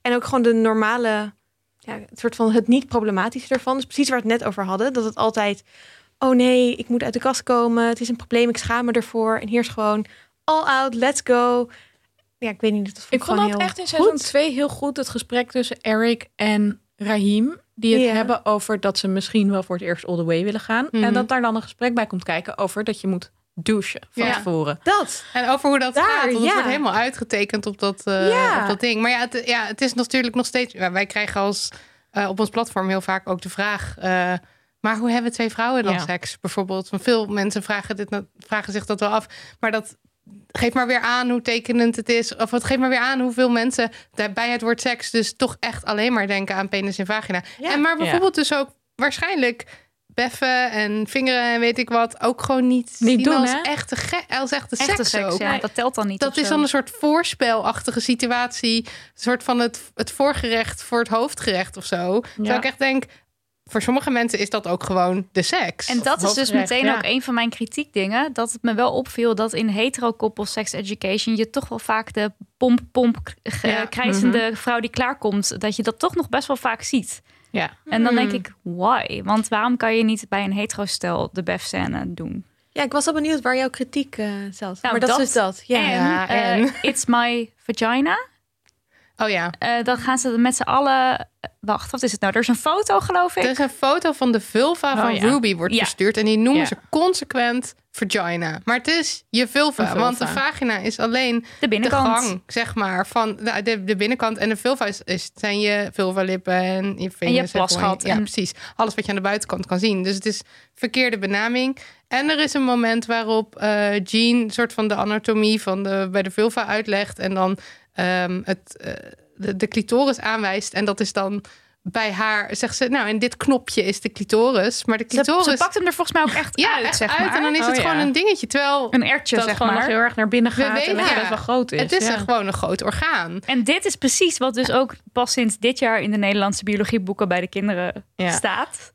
Speaker 1: En ook gewoon de normale, ja, het soort van het niet problematische ervan. Dus precies waar we het net over hadden. Dat het altijd, oh nee, ik moet uit de kast komen. Het is een probleem, ik schaam me ervoor. En hier is gewoon all out, let's go. Ja, ik weet niet, dat vond
Speaker 2: Ik vond
Speaker 1: gewoon
Speaker 2: dat
Speaker 1: heel
Speaker 2: echt in seizoen
Speaker 1: goed.
Speaker 2: 2 heel goed, het gesprek tussen Eric en Rahim. Die het
Speaker 1: Ja.
Speaker 2: hebben over dat ze misschien wel voor het eerst all the way willen gaan. En
Speaker 3: Mhm.
Speaker 2: dat daar dan een gesprek bij komt kijken over dat je moet douchen van
Speaker 3: Ja.
Speaker 2: tevoren.
Speaker 1: Dat,
Speaker 3: En over hoe dat
Speaker 1: Daar,
Speaker 3: gaat, want het
Speaker 1: ja.
Speaker 3: wordt helemaal uitgetekend op dat, eh,
Speaker 2: Ja.
Speaker 3: op dat ding. Maar ja het, ja, het is natuurlijk nog steeds... ja, Wij krijgen als, eh, op ons platform heel vaak ook de vraag... eh, maar hoe hebben twee vrouwen dan
Speaker 2: Ja.
Speaker 3: seks, bijvoorbeeld? Want veel mensen vragen, dit, na- vragen zich dat wel af. Maar dat geeft maar weer aan hoe tekenend het is. Of het geeft maar weer aan hoeveel mensen daar- bij het woord seks... dus toch echt alleen maar denken aan penis en vagina.
Speaker 1: Ja.
Speaker 3: En maar bijvoorbeeld dus ook waarschijnlijk... beffen en vingeren en weet ik wat... ook gewoon niet,
Speaker 2: Niet
Speaker 3: zien
Speaker 2: doen,
Speaker 3: als,
Speaker 2: hè?
Speaker 3: echte ge- als echte seks,
Speaker 4: Echte seks,
Speaker 3: ook.
Speaker 4: ja. Dat telt dan niet.
Speaker 3: Dat
Speaker 4: of
Speaker 3: is
Speaker 4: zo.
Speaker 3: dan een soort voorspelachtige situatie. Een soort van het, het voorgerecht voor het hoofdgerecht of zo. Terwijl ik echt denk, voor sommige mensen is dat ook gewoon de seks.
Speaker 4: En dat is dus
Speaker 2: hooggerecht,
Speaker 4: meteen
Speaker 2: ja.
Speaker 4: ook een van mijn kritiekdingen. Dat het me wel opviel dat in hetero-koppel sex education... je toch wel vaak de pomp-pomp
Speaker 3: Ja, Mhm.
Speaker 4: krijzende vrouw die klaarkomt... dat je dat toch nog best wel vaak ziet.
Speaker 2: Ja.
Speaker 4: En dan
Speaker 3: Hmm.
Speaker 4: denk ik, why? Want waarom kan je niet bij een hetero-stel de bef-scène doen?
Speaker 1: Ja, ik was al benieuwd waar jouw kritiek eh, zat.
Speaker 4: Nou,
Speaker 1: maar dat,
Speaker 4: dat-
Speaker 1: is dus dat. Ja.
Speaker 4: en,
Speaker 3: ja,
Speaker 4: eh,
Speaker 3: en?
Speaker 4: It's My Vagina.
Speaker 3: Oh ja.
Speaker 4: Eh, dan gaan ze met z'n allen... eh, Wacht, wat is het nou? Er is een foto, geloof ik.
Speaker 3: Er is een foto van de vulva
Speaker 2: Oh,
Speaker 3: van
Speaker 2: ja.
Speaker 3: Ruby wordt
Speaker 4: Ja.
Speaker 3: verstuurd. En die noemen
Speaker 2: Ja.
Speaker 3: ze consequent vagina. Maar het is je vulva.
Speaker 2: Een vulva.
Speaker 3: Want de vagina is alleen
Speaker 4: De binnenkant.
Speaker 3: de gang, zeg maar. Van de, de, de binnenkant. En de vulva is, is, zijn je vulvalippen en je vingers. gewoon
Speaker 4: plasgat
Speaker 3: je- Ja,
Speaker 4: en-
Speaker 3: precies. Alles wat je aan de buitenkant kan zien. Dus het is verkeerde benaming. En er is een moment waarop eh Jean een soort van de anatomie van de, bij de vulva uitlegt. En dan ehm, het, eh, de, de clitoris aanwijst. En dat is dan bij haar, zegt ze, nou, en dit knopje is de clitoris. Maar de
Speaker 4: Ze,
Speaker 3: clitoris...
Speaker 4: ze pakt hem er volgens mij ook echt
Speaker 3: ja,
Speaker 4: uit,
Speaker 3: echt
Speaker 4: zeg
Speaker 3: uit.
Speaker 4: maar.
Speaker 3: En dan is
Speaker 2: Oh,
Speaker 3: het
Speaker 2: ja.
Speaker 3: gewoon een dingetje. Terwijl
Speaker 4: Een ertje,
Speaker 2: Dat
Speaker 4: zeg
Speaker 2: het gewoon nog
Speaker 4: maar.
Speaker 2: heel erg naar binnen
Speaker 3: We
Speaker 2: gaat en
Speaker 3: weten-
Speaker 2: dat het
Speaker 3: ja.
Speaker 2: best wel groot is.
Speaker 3: het is
Speaker 2: ja.
Speaker 3: echt gewoon een groot orgaan.
Speaker 4: En dit is precies wat dus ook pas sinds dit jaar in de Nederlandse biologieboeken bij de kinderen
Speaker 2: Ja.
Speaker 4: staat.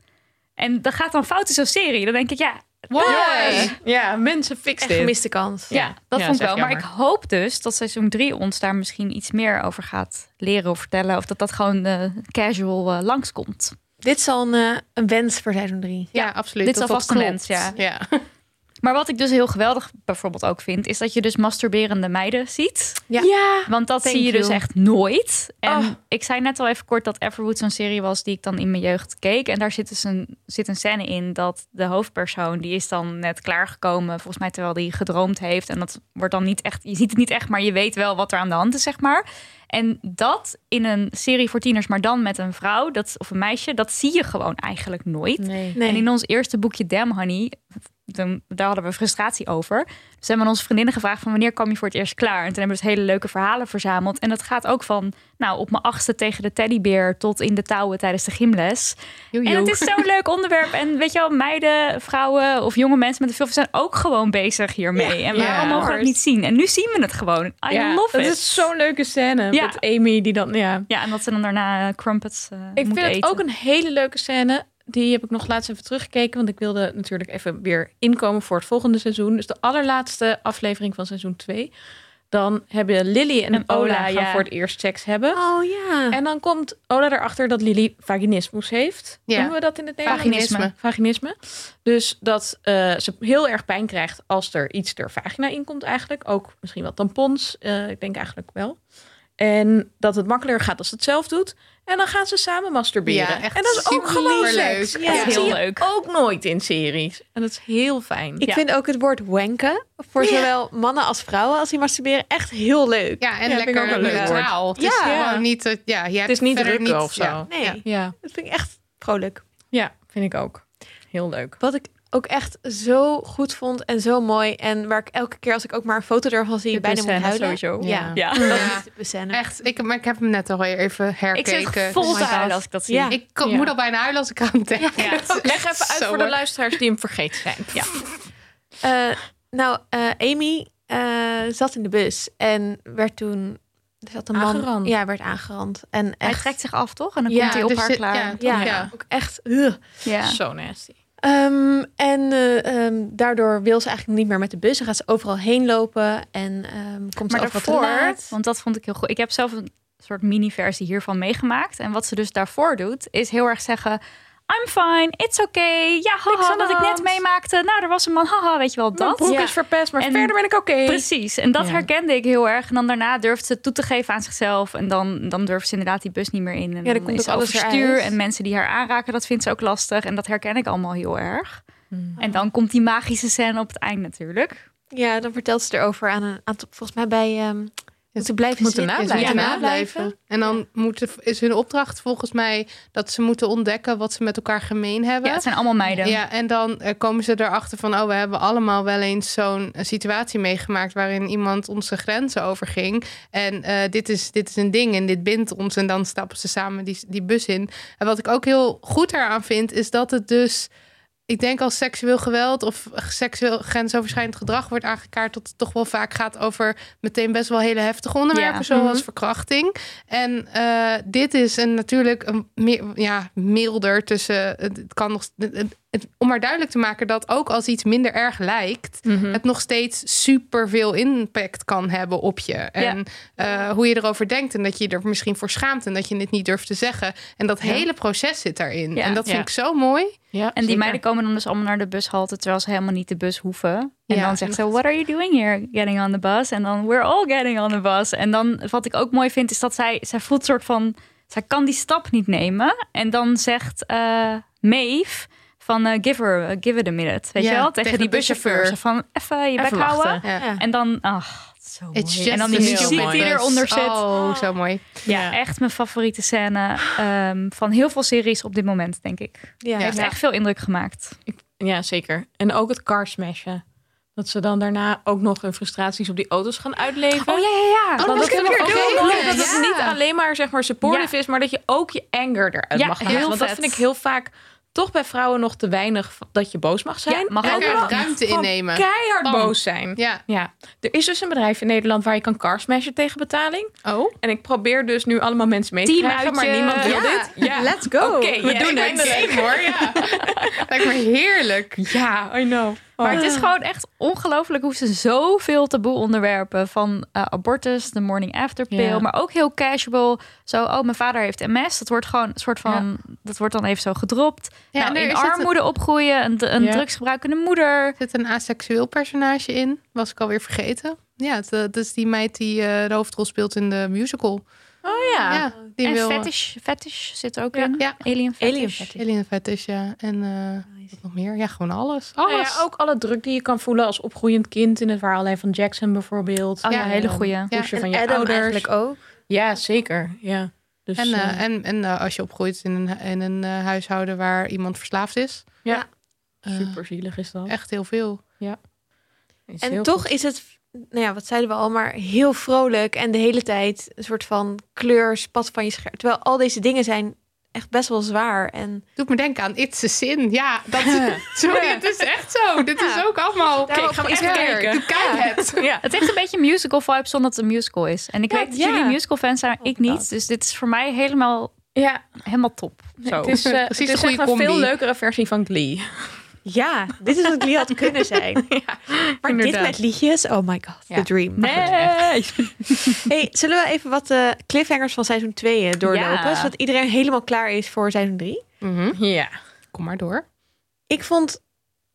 Speaker 4: En dat gaat dan fout in zo'n serie. Dan denk ik, ja,
Speaker 3: Why?
Speaker 2: Ja. Ja, mensen fix
Speaker 1: Echt
Speaker 2: dit.
Speaker 1: gemiste kans.
Speaker 4: ja, dat
Speaker 2: Ja,
Speaker 4: vond ik
Speaker 2: is echt
Speaker 4: wel. Maar ik
Speaker 2: jammer.
Speaker 4: hoop dus dat seizoen 3 ons daar misschien iets meer over gaat leren of vertellen. Of dat dat gewoon eh, casual eh, langskomt.
Speaker 1: Dit is al een, eh, een wens voor seizoen 3.
Speaker 3: Ja, absoluut.
Speaker 4: Dit is
Speaker 3: Dat dat
Speaker 4: alvast een
Speaker 3: klopt.
Speaker 4: mens, ja.
Speaker 3: Ja.
Speaker 4: Maar wat ik dus heel geweldig bijvoorbeeld ook vind, is dat je dus masturberende meiden ziet.
Speaker 1: Ja.
Speaker 4: Want dat
Speaker 1: Thank
Speaker 4: zie je dus
Speaker 1: you.
Speaker 4: echt nooit. En
Speaker 1: Oh.
Speaker 4: ik zei net al even kort dat Everwood zo'n serie was die ik dan in mijn jeugd keek. En daar zit dus een, zit een scène in dat de hoofdpersoon, die is dan net klaargekomen. Volgens mij terwijl die gedroomd heeft. En dat wordt dan niet echt, je ziet het niet echt, maar je weet wel wat er aan de hand is, zeg maar. En dat in een serie voor tieners, maar dan met een vrouw dat, of een meisje, dat zie je gewoon eigenlijk nooit.
Speaker 2: Nee.
Speaker 1: Nee.
Speaker 4: En in ons eerste boekje Damn Honey, toen- daar hadden we frustratie over. Dus hebben we aan onze vriendinnen gevraagd van wanneer kwam je voor het eerst klaar? En toen hebben we dus hele leuke verhalen verzameld. En dat gaat ook van, nou, op mijn achtste tegen de teddybeer tot in de touwen tijdens de gymles.
Speaker 3: Joejoe.
Speaker 4: En het is zo'n leuk onderwerp. En weet je wel, meiden, vrouwen of jonge mensen met een veel zijn ook gewoon bezig hiermee. en waarom
Speaker 2: ja.
Speaker 4: mogen we het niet zien? En nu zien we het gewoon. I
Speaker 2: Ja,
Speaker 4: love
Speaker 2: dat
Speaker 4: it.
Speaker 2: is zo'n leuke scène
Speaker 4: Ja.
Speaker 2: met Amy die dan... Ja.
Speaker 4: Ja, en dat ze dan daarna eh, crumpets eh
Speaker 2: Ik vind
Speaker 4: moeten
Speaker 2: het
Speaker 4: eten.
Speaker 2: ook een hele leuke scène. Die heb ik nog laatst even teruggekeken. Want ik wilde natuurlijk even weer inkomen voor het volgende seizoen. Dus de allerlaatste aflevering van seizoen 2. Dan hebben Lily en,
Speaker 4: En
Speaker 2: Ola,
Speaker 4: Ola,
Speaker 2: gaan
Speaker 4: ja.
Speaker 2: voor het eerst seks hebben.
Speaker 1: Oh ja.
Speaker 2: En dan komt Ola erachter dat Lily vaginismus heeft.
Speaker 3: Ja.
Speaker 2: Noemen we dat in het Nederlands?
Speaker 3: Vaginisme.
Speaker 2: Vaginisme. Dus dat eh, ze heel erg pijn krijgt als er iets er vagina in komt eigenlijk. Ook misschien wel tampons. eh, ik denk eigenlijk wel. En dat het makkelijker gaat als ze het zelf doet. En dan gaan ze samen masturberen.
Speaker 3: Ja, echt
Speaker 2: en dat is ook gewoon
Speaker 3: superleuk.
Speaker 2: seks.
Speaker 1: Ja.
Speaker 2: Dat
Speaker 4: Heel
Speaker 2: zie je
Speaker 4: leuk.
Speaker 2: ook nooit in series. En dat is heel fijn.
Speaker 1: Ik
Speaker 4: Ja.
Speaker 1: vind ook het woord wanken voor
Speaker 2: Ja.
Speaker 1: zowel mannen als vrouwen als die masturberen echt heel leuk.
Speaker 3: Ja, en
Speaker 2: Ja, vind ik ook
Speaker 3: lekker
Speaker 2: een leuk
Speaker 3: neutraal. Het is
Speaker 1: Ja.
Speaker 3: gewoon niet... dat- Ja, je
Speaker 2: het
Speaker 3: hebt
Speaker 2: is niet
Speaker 3: verder
Speaker 2: drukken of zo.
Speaker 3: ja.
Speaker 1: Nee,
Speaker 2: ja.
Speaker 1: dat vind ik echt vrolijk.
Speaker 2: ja, vind ik ook. Heel leuk.
Speaker 1: Wat ik ook echt zo goed vond en zo mooi en waar ik elke keer als ik ook maar een foto ervan zie
Speaker 4: Die
Speaker 1: bijna moet
Speaker 2: eh,
Speaker 4: scène
Speaker 1: huilen.
Speaker 4: sowieso.
Speaker 1: Ja.
Speaker 4: Ja.
Speaker 1: Dat
Speaker 3: Ja.
Speaker 1: is de scène.
Speaker 3: Echt, ik, maar ik heb hem net al even
Speaker 4: Ik
Speaker 3: herkeken.
Speaker 4: zit vol
Speaker 3: Oh
Speaker 4: te
Speaker 3: my
Speaker 4: huilen
Speaker 3: God.
Speaker 4: als ik dat zie.
Speaker 1: Ja.
Speaker 3: Ik kan-
Speaker 2: Ja.
Speaker 3: moet al bijna huilen als ik aan het denken.
Speaker 4: Ja.
Speaker 3: Het is
Speaker 2: Leg even uit
Speaker 3: zo
Speaker 2: voor de
Speaker 3: hoor.
Speaker 2: luisteraars die hem vergeten zijn.
Speaker 4: Ja.
Speaker 1: Eh, nou, eh, Amy eh, zat in de bus en werd toen er zat een man,
Speaker 2: Aangerand.
Speaker 1: ja, werd aangerand en
Speaker 4: Hij
Speaker 1: echt
Speaker 4: trekt zich af, toch? En dan
Speaker 1: Ja,
Speaker 4: komt hij op
Speaker 3: dus
Speaker 4: haar
Speaker 3: je-
Speaker 4: klaar.
Speaker 3: ja.
Speaker 1: ja,
Speaker 3: Ja.
Speaker 1: ook echt. ugh.
Speaker 4: Ja.
Speaker 2: Zo nasty.
Speaker 1: Ehm, en eh, ehm, daardoor wil ze eigenlijk niet meer met de bus. Dan gaat ze overal heen lopen en ehm, komt
Speaker 4: Maar
Speaker 1: ze overal
Speaker 4: daarvoor,
Speaker 1: te laat.
Speaker 4: want dat vond ik heel goed. Ik heb zelf een soort mini-versie hiervan meegemaakt. En wat ze dus daarvoor doet, is heel erg zeggen... I'm fine, it's okay. Ja,
Speaker 2: Niks
Speaker 4: haha,
Speaker 2: aan
Speaker 4: wat
Speaker 2: de
Speaker 4: ik net
Speaker 2: hand."
Speaker 4: meemaakte. Nou, er was een man, haha, weet je wel,
Speaker 2: Mijn
Speaker 4: dat.
Speaker 2: broek
Speaker 1: Ja.
Speaker 2: is verpest, maar
Speaker 4: En-
Speaker 2: verder ben ik oké.
Speaker 4: Precies, en dat
Speaker 2: Ja.
Speaker 4: herkende ik heel erg. En dan daarna durft ze toe te geven aan zichzelf. En dan, dan durft ze inderdaad die bus niet meer in. En
Speaker 1: dan komt
Speaker 4: is
Speaker 1: ook alles
Speaker 4: overstuur.
Speaker 1: eruit.
Speaker 4: En mensen die haar aanraken, dat vindt ze ook lastig. En dat herken ik allemaal heel erg. En dan komt die magische scène op het eind natuurlijk.
Speaker 1: Ja, dan vertelt ze erover aan een aantal, volgens mij bij ehm moeten blijven
Speaker 2: moeten
Speaker 1: zitten.
Speaker 3: Ja, ze moeten
Speaker 2: Ja,
Speaker 3: nablijven. En dan moeten, is hun opdracht volgens mij dat ze moeten ontdekken wat ze met elkaar gemeen hebben.
Speaker 4: Ja, het zijn allemaal meiden.
Speaker 3: Ja, en dan eh, komen ze erachter van, oh, we hebben allemaal wel eens zo'n eh, situatie meegemaakt waarin iemand onze grenzen overging. En eh, dit, is, dit is een ding en dit bindt ons. En dan stappen ze samen die, die bus in. En wat ik ook heel goed eraan vind, is dat het dus ik denk als seksueel geweld of seksueel grensoverschrijdend gedrag wordt aangekaart, dat het toch wel vaak gaat over meteen best wel hele heftige onderwerpen,
Speaker 4: Ja.
Speaker 3: zoals
Speaker 4: Mhm.
Speaker 3: verkrachting. En eh, dit is een, natuurlijk een meer, ja, milder tussen. Het, het kan nog, het- het- het- om maar duidelijk te maken dat ook als iets minder erg
Speaker 4: Mhm.
Speaker 3: lijkt, het nog steeds superveel impact kan hebben op je. En eh, hoe je erover denkt en dat je je er misschien voor schaamt en dat je het niet durft te zeggen. En dat
Speaker 2: Ja.
Speaker 3: hele proces zit daarin.
Speaker 4: Ja.
Speaker 3: En dat vind
Speaker 2: Ja.
Speaker 3: ik zo mooi.
Speaker 2: Ja,
Speaker 4: En die meiden komen dan dus allemaal naar de bushalte, terwijl ze helemaal niet de bus hoeven. En
Speaker 3: Ja,
Speaker 4: dan zegt ze, what are you doing here? Getting on the bus. En dan, we're all getting on the bus. En dan, wat ik ook mooi vind, is dat zij, zij voelt soort van, zij kan die stap niet nemen. En dan zegt eh Maeve van, eh, give, her, eh, give it a minute. Weet
Speaker 3: Ja,
Speaker 4: je wel? Tegen,
Speaker 3: tegen
Speaker 4: die
Speaker 3: de buschauffeur.
Speaker 4: buschauffeur. Zo van, even je bek
Speaker 2: Even
Speaker 4: houden.
Speaker 2: wachten.
Speaker 3: Ja.
Speaker 4: En dan, ach, zo mooi.
Speaker 3: It's just
Speaker 4: en dan die
Speaker 3: the
Speaker 2: heel
Speaker 4: muziek
Speaker 2: mooi.
Speaker 4: die eronder zit.
Speaker 3: Oh, zo mooi.
Speaker 4: Ja, echt mijn favoriete scène ehm, van heel veel series op dit moment, denk ik.
Speaker 1: Ja,
Speaker 4: Heeft echt veel indruk gemaakt.
Speaker 2: Ja, zeker. En ook het car smashen. Dat ze dan daarna ook nog hun frustraties op die auto's gaan uitleven.
Speaker 4: Oh ja, ja, ja.
Speaker 3: Oh,
Speaker 2: Want
Speaker 3: dat
Speaker 2: dat
Speaker 3: kunnen
Speaker 2: vind
Speaker 3: we
Speaker 2: ik ook
Speaker 3: ook
Speaker 2: heel
Speaker 3: doen.
Speaker 2: mooi. Dat
Speaker 3: Ja.
Speaker 2: het niet alleen maar zeg maar supportive is, maar dat je ook je anger eruit
Speaker 4: Ja,
Speaker 2: mag halen.
Speaker 4: heel
Speaker 2: Want dat
Speaker 4: vet.
Speaker 2: vind ik heel vaak toch bij vrouwen nog te weinig v- dat je boos mag zijn.
Speaker 4: Ja, mag
Speaker 2: En
Speaker 4: ook.
Speaker 2: ook wel
Speaker 3: Ruimte
Speaker 2: gewoon
Speaker 3: innemen.
Speaker 2: Keihard
Speaker 4: Bam.
Speaker 2: boos zijn.
Speaker 3: Ja.
Speaker 2: Ja, er is dus een bedrijf in Nederland waar je kan car smashen tegen betaling.
Speaker 3: Oh.
Speaker 2: En ik probeer dus nu allemaal mensen mee te
Speaker 4: Team
Speaker 2: krijgen, maar
Speaker 4: uitje.
Speaker 2: niemand wil
Speaker 3: Ja.
Speaker 2: dit. Ja,
Speaker 1: Let's go.
Speaker 2: Oké,
Speaker 1: We
Speaker 2: ja,
Speaker 1: doen
Speaker 2: ik ben
Speaker 1: het.
Speaker 2: er één, hoor. Ja,
Speaker 3: Lijkt me heerlijk.
Speaker 2: ja I know.
Speaker 4: Maar het is gewoon echt ongelooflijk hoe ze zoveel taboe onderwerpen. Van eh, abortus, de morning after pill.
Speaker 2: Ja.
Speaker 4: Maar ook heel casual. Zo, oh, mijn vader heeft MS. Dat wordt gewoon een soort van... Dat wordt dan even zo gedropt.
Speaker 3: Ja,
Speaker 4: nou,
Speaker 3: en er
Speaker 4: in
Speaker 3: is het-
Speaker 4: armoede opgroeien. Een, een
Speaker 2: Ja.
Speaker 4: drugsgebruikende moeder.
Speaker 3: Er zit een asexueel personage in. Was ik alweer vergeten. Ja, het, eh, dat is die meid die eh, de hoofdrol speelt in de musical.
Speaker 2: Oh ja.
Speaker 3: ja, die
Speaker 4: en
Speaker 3: wil...
Speaker 4: fetish, fetish zit er ook
Speaker 2: Ja.
Speaker 4: in.
Speaker 3: Ja.
Speaker 4: Alien fetish. Oh,
Speaker 1: Alien fetish.
Speaker 3: Alien fetish, ja. En eh, wat nog meer? Ja, gewoon alles. Alles.
Speaker 2: Nou ja, ook alle druk die je kan voelen als opgroeiend kind in het verhaallijn van Jackson bijvoorbeeld.
Speaker 4: Oh ja,
Speaker 3: Ja,
Speaker 4: hele goeie.
Speaker 3: Ja,
Speaker 2: Pushen
Speaker 1: En
Speaker 2: van je
Speaker 1: Adam
Speaker 2: ouders.
Speaker 1: eigenlijk ook.
Speaker 2: Ja, zeker. Ja. Dus,
Speaker 3: En, eh,
Speaker 2: eh,
Speaker 3: en, en eh, als je opgroeit in een, in een eh, huishouden waar iemand verslaafd is.
Speaker 2: ja.
Speaker 3: eh,
Speaker 2: super zielig is dat.
Speaker 3: Echt heel veel.
Speaker 2: Is
Speaker 1: En
Speaker 2: heel
Speaker 1: toch
Speaker 2: goed.
Speaker 1: is het, nou ja, wat zeiden we al, maar heel vrolijk en de hele tijd een soort van kleur spat van je scherm. Terwijl al deze dingen zijn echt best wel zwaar. En
Speaker 3: Doet me denken aan It's a Sin. Ja, dat, sorry,
Speaker 2: Ja.
Speaker 3: het is echt zo. Dit is ook allemaal...
Speaker 1: Daarom
Speaker 2: Oké, ik ga hem eens
Speaker 3: Ja,
Speaker 2: kijken.
Speaker 3: doe- Kijk het.
Speaker 2: Ja.
Speaker 4: Het heeft een beetje musical vibes zonder dat het een musical is. En ik
Speaker 2: Ja,
Speaker 4: weet dat
Speaker 2: ja.
Speaker 4: jullie musical fans zijn, ik
Speaker 1: Oh my
Speaker 4: niet. Dus dit is voor mij helemaal,
Speaker 2: ja,
Speaker 4: helemaal top.
Speaker 2: zo. Het is, eh, het
Speaker 3: Precies
Speaker 2: is
Speaker 3: een goede
Speaker 2: echt een veel
Speaker 3: combi.
Speaker 2: leukere versie van Glee.
Speaker 1: ja, dit is wat Lee had kunnen zijn. maar
Speaker 2: inderdaad.
Speaker 1: dit met liedjes, oh my god,
Speaker 2: Ja.
Speaker 1: the dream.
Speaker 4: Nee.
Speaker 1: Hey, zullen we even wat eh, cliffhangers van seizoen 2 doorlopen?
Speaker 4: Ja.
Speaker 1: Zodat iedereen helemaal klaar is voor seizoen 3.
Speaker 3: Mhm.
Speaker 2: Ja.
Speaker 3: Kom maar door.
Speaker 1: Ik vond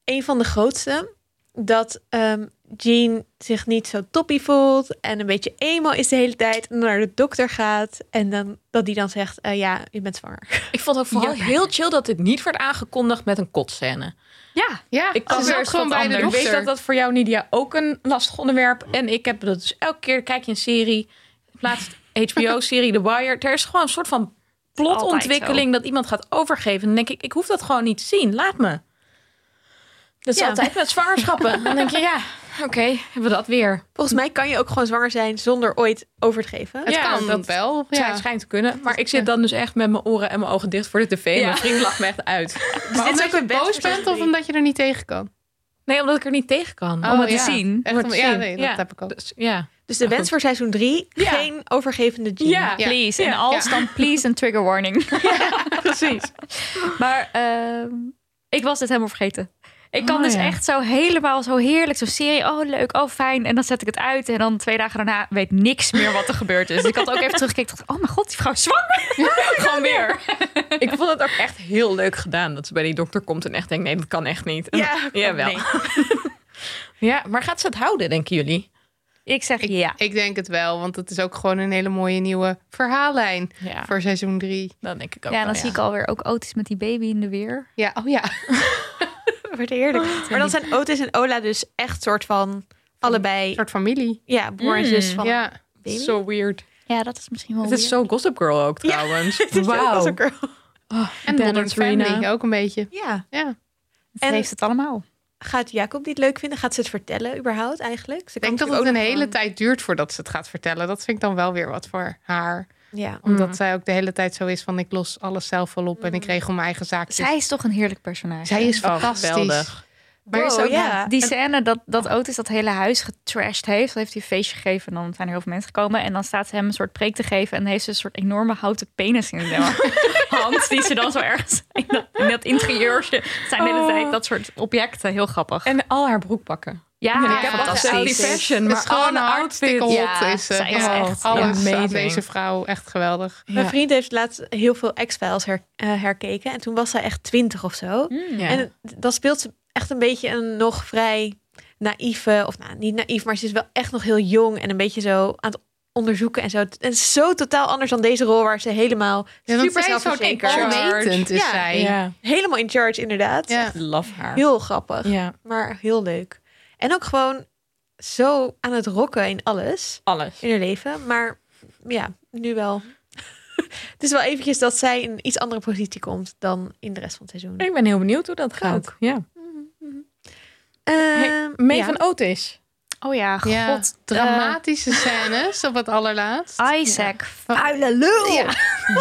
Speaker 1: een van de grootste dat ehm, Jean zich niet zo toppie voelt en een beetje emo is de hele tijd en dan naar de dokter gaat en dan dat die dan zegt eh, ja je bent zwanger.
Speaker 2: Ik vond ook vooral heel chill dat dit niet werd aangekondigd met een kotscène.
Speaker 4: Ja,
Speaker 3: Ja,
Speaker 2: Ik
Speaker 3: dat
Speaker 2: kan
Speaker 3: is
Speaker 2: er
Speaker 3: ook gewoon bij de
Speaker 2: Ik
Speaker 3: dokter.
Speaker 2: weet dat dat voor jou, Nidia, ook een lastig onderwerp. En ik heb dat dus elke keer, kijk je een serie, plaatst HBO-serie The Wire. Er is gewoon een soort van plotontwikkeling dat iemand gaat overgeven. Dan denk ik, ik hoef dat gewoon niet te zien. Laat me. Dat is
Speaker 1: Ja.
Speaker 2: altijd met zwangerschappen. Dan denk je, ja, oké, hebben we dat weer.
Speaker 1: Volgens mij kan je ook gewoon zwanger zijn zonder ooit over te geven.
Speaker 3: Het
Speaker 2: Ja,
Speaker 3: kan
Speaker 2: dat
Speaker 3: wel.
Speaker 2: Ja.
Speaker 3: Ja.
Speaker 2: Het schijnt te kunnen. Maar ik zit dan dus echt met mijn oren en mijn ogen dicht voor de tv. En
Speaker 1: Ja.
Speaker 2: mijn vriend lacht me echt uit.
Speaker 1: dit is
Speaker 3: omdat
Speaker 1: ook
Speaker 3: je
Speaker 1: een wet
Speaker 3: boos
Speaker 1: voor
Speaker 3: bent of
Speaker 1: seizoen
Speaker 3: omdat je er niet tegen kan? Oh,
Speaker 2: Nee, omdat ik er niet tegen kan.
Speaker 4: om het te
Speaker 3: ja.
Speaker 4: zien.
Speaker 3: Echt
Speaker 2: Om het
Speaker 3: om-
Speaker 2: te
Speaker 3: ja,
Speaker 2: zien.
Speaker 3: nee, dat
Speaker 2: Ja.
Speaker 3: heb ik ook.
Speaker 2: Oh. Dus, ja.
Speaker 1: Dus de wens voor seizoen 3,
Speaker 2: Ja.
Speaker 1: geen overgevende Jean.
Speaker 2: Ja.
Speaker 4: Please. En
Speaker 2: Ja.
Speaker 4: als dan please een trigger warning.
Speaker 2: Precies.
Speaker 4: Maar ehm, ik was dit helemaal vergeten. Ik kan
Speaker 2: Oh,
Speaker 4: dus
Speaker 2: ja.
Speaker 4: echt zo helemaal zo heerlijk zo'n serie. Oh, leuk. Oh, fijn. En dan zet ik het uit. En dan twee dagen daarna weet niks meer wat er gebeurd is. Dus ik had ook even teruggekeken. Dacht, oh mijn god, die vrouw is zwanger.
Speaker 2: Gewoon weer. Ik vond het ook echt heel leuk gedaan dat ze bij die dokter komt en echt denkt: nee, dat kan echt niet. En-
Speaker 1: Ja,
Speaker 2: jawel.
Speaker 1: nee.
Speaker 2: Ja, maar gaat ze het houden, denken jullie?
Speaker 4: Ik zeg
Speaker 3: Ik,
Speaker 4: ja.
Speaker 3: ik denk het wel, want het is ook gewoon een hele mooie nieuwe verhaallijn
Speaker 2: Ja,
Speaker 3: voor seizoen 3.
Speaker 2: dan denk ik ook.
Speaker 4: Ja,
Speaker 2: wel,
Speaker 4: dan zie ik alweer ook Otis met die baby in de weer.
Speaker 3: Ja, oh ja.
Speaker 1: Wordt
Speaker 3: Ah.
Speaker 1: heerlijk. Maar dan zijn Otis en Ola dus echt soort van
Speaker 3: Een
Speaker 1: allebei
Speaker 3: soort familie.
Speaker 1: ja, broer en zus van
Speaker 3: Mm, Ja.
Speaker 1: baby.
Speaker 2: Zo weird.
Speaker 4: Ja, dat is misschien wel
Speaker 2: Het is
Speaker 4: weird.
Speaker 2: zo Gossip Girl ook
Speaker 1: Ja.
Speaker 2: trouwens.
Speaker 1: Dit is ook als een girl.
Speaker 3: En
Speaker 2: Ben
Speaker 3: Modern
Speaker 2: en Trina.
Speaker 3: Family ook een beetje.
Speaker 1: Ja.
Speaker 3: Ja.
Speaker 4: Het
Speaker 1: en-
Speaker 4: heeft het allemaal.
Speaker 1: Gaat Jacob dit leuk vinden? Gaat ze het vertellen überhaupt eigenlijk? Ze
Speaker 3: Ik denk dat
Speaker 1: natuurlijk
Speaker 3: het een
Speaker 1: ook nog
Speaker 3: hele
Speaker 1: gewoon-
Speaker 3: tijd duurt voordat ze het gaat vertellen. Dat vind ik dan wel weer wat voor haar.
Speaker 1: Ja.
Speaker 3: Omdat
Speaker 2: Mm.
Speaker 3: zij ook de hele tijd zo is van ik los alles zelf wel op en ik regel mijn eigen zaakjes.
Speaker 4: Zij is toch een heerlijk personage.
Speaker 3: Zij is
Speaker 2: Oh,
Speaker 3: fantastisch.
Speaker 2: geweldig.
Speaker 3: Maar er is
Speaker 1: Wow,
Speaker 3: ook-
Speaker 1: ja.
Speaker 4: Die
Speaker 1: En-
Speaker 4: scène dat, dat Otis dat hele huis getrashed heeft. Dat heeft hij een feestje gegeven en dan zijn er heel veel mensen gekomen. En dan staat ze hem een soort preek te geven. En dan heeft ze een soort enorme houten penis in de hand. Die ze dan zo ergens in dat, in dat interieurtje. Het zijn de hele
Speaker 2: Oh.
Speaker 4: tijd dat soort objecten. Heel grappig.
Speaker 2: En al haar broekpakken.
Speaker 4: ja,
Speaker 3: Ja,
Speaker 2: ik heb altijd
Speaker 4: fantastisch.
Speaker 2: zelf die fashion,
Speaker 3: Ah, Het is
Speaker 2: maar al
Speaker 3: gewoon
Speaker 2: een
Speaker 3: een hartstikke hot.
Speaker 2: outfit.
Speaker 4: Ja,
Speaker 3: is ze.
Speaker 4: zij is
Speaker 3: Ja.
Speaker 4: echt
Speaker 3: Alles aan
Speaker 2: amazing.
Speaker 3: deze vrouw. Echt geweldig.
Speaker 1: Mijn
Speaker 2: Ja.
Speaker 1: vriend heeft laatst heel veel X-Files her- eh, herkeken. En toen was zij echt twintig of zo.
Speaker 4: Hmm.
Speaker 2: Ja.
Speaker 1: En dan speelt ze echt een beetje een nog vrij naïeve, of nou, niet naïef, maar ze is wel echt nog heel jong en een beetje zo aan het onderzoeken en zo. En zo totaal anders dan deze rol waar ze helemaal
Speaker 3: Ja, want
Speaker 1: super
Speaker 3: zij is ook
Speaker 1: zelfverzekerd,
Speaker 3: onwetend is
Speaker 1: Ja.
Speaker 3: zij.
Speaker 2: ja,
Speaker 1: helemaal in charge inderdaad.
Speaker 3: Ja.
Speaker 2: love haar.
Speaker 1: Heel grappig,
Speaker 2: Ja,
Speaker 1: maar heel leuk. En ook gewoon zo aan het rocken in alles
Speaker 2: alles.
Speaker 1: in haar leven, maar ja, nu wel. Het is wel eventjes dat zij in een iets andere positie komt dan in de rest van het seizoen.
Speaker 2: Ik ben heel benieuwd hoe dat gaat.
Speaker 1: Ook.
Speaker 2: Ja. Hey,
Speaker 1: Ehm,
Speaker 2: Mee
Speaker 1: ja.
Speaker 2: van Otis.
Speaker 4: Oh ja, Ah. god.
Speaker 3: Ja, Eh,
Speaker 4: drama.
Speaker 3: dramatische scènes op het allerlaatst.
Speaker 4: Isaac.
Speaker 1: Vuile lul!
Speaker 3: Ja.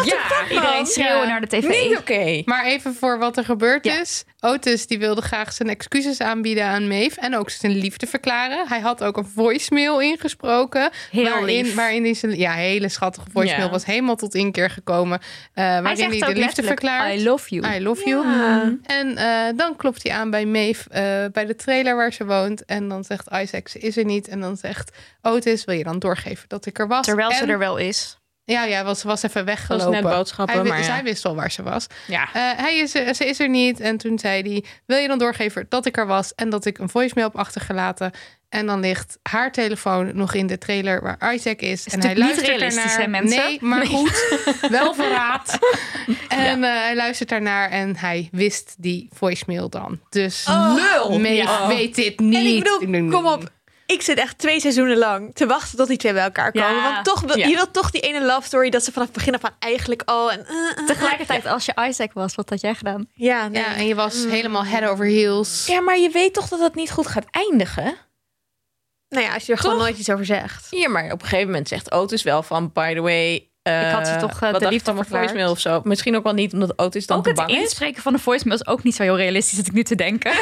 Speaker 4: Ja, iedereen schreeuwen
Speaker 3: Ja.
Speaker 4: naar de tv.
Speaker 2: Niet oké.
Speaker 3: Maar even voor wat er gebeurd
Speaker 4: Ja.
Speaker 3: is. Otis die wilde graag zijn excuses aanbieden aan Maeve. En ook zijn liefde verklaren. Hij had ook een voicemail ingesproken.
Speaker 4: Heel
Speaker 3: waarin,
Speaker 4: lief.
Speaker 3: Waarin hij zijn ja, hele schattige voicemail
Speaker 2: Ja.
Speaker 3: was helemaal tot inkeer gekomen. eh,
Speaker 4: Hij
Speaker 3: waarin
Speaker 4: zegt
Speaker 3: hij
Speaker 4: ook
Speaker 3: de liefde
Speaker 4: letterlijk,
Speaker 3: verklaart.
Speaker 4: I love you.
Speaker 3: I love you.
Speaker 1: Ja.
Speaker 3: En eh, dan klopt hij aan bij Maeve eh, bij de trailer waar ze woont. En dan zegt Isaac, ze is er niet. En dan zegt Otis, wil je dan doorgeven dat ik er was?
Speaker 4: Terwijl ze
Speaker 3: En-
Speaker 4: er wel is.
Speaker 3: Ja, ja, want ze was even
Speaker 2: was
Speaker 3: weggelopen.
Speaker 2: net boodschappen,
Speaker 3: Hij wi-
Speaker 2: maar ja.
Speaker 3: Zij wist wel waar ze was.
Speaker 2: Ja.
Speaker 3: Eh, hij is er, ze is er niet. En toen zei hij, wil je dan doorgeven dat ik er was... en dat ik een voicemail heb achtergelaten. En dan ligt haar telefoon nog in de trailer waar Isaac is. en hij
Speaker 4: natuurlijk niet
Speaker 3: luistert
Speaker 4: realistisch,
Speaker 3: ernaar.
Speaker 4: hè, mensen?
Speaker 3: Nee, maar goed, wel verraad. En eh, hij luistert daarnaar en hij wist die voicemail dan. Dus
Speaker 2: lul!
Speaker 3: Maeve
Speaker 2: Ja.
Speaker 3: weet dit niet.
Speaker 1: Oh, En ik
Speaker 3: Ik denk,
Speaker 1: bedoel, kom op. Ik zit echt twee seizoenen lang te wachten tot die twee bij elkaar komen.
Speaker 4: Ja.
Speaker 1: Want toch, wil-
Speaker 2: Ja.
Speaker 1: je wilt toch die ene love story dat ze vanaf het begin af aan eigenlijk al... En, eh, eh.
Speaker 4: Tegelijkertijd, als je Isaac was, wat had jij gedaan?
Speaker 1: Ja, nee.
Speaker 3: Ja, en je was helemaal head over heels.
Speaker 2: Ja, maar je weet toch dat dat niet goed gaat eindigen?
Speaker 1: Nou ja, als je er gewoon
Speaker 2: Toch?
Speaker 1: nooit iets over zegt.
Speaker 2: Ja, maar op een gegeven moment zegt Otis wel van... By the way... eh,
Speaker 4: Ik had ze toch,
Speaker 2: wat
Speaker 4: eh, de
Speaker 2: dacht je
Speaker 4: liefde
Speaker 2: van mijn
Speaker 4: verklaard?
Speaker 2: voicemail of zo. Misschien ook wel niet, omdat Otis dan
Speaker 4: ook
Speaker 2: te
Speaker 4: het
Speaker 2: bang is.
Speaker 4: inspreken van de voicemail is ook niet zo heel realistisch, dat ik nu te denken.
Speaker 3: Nee,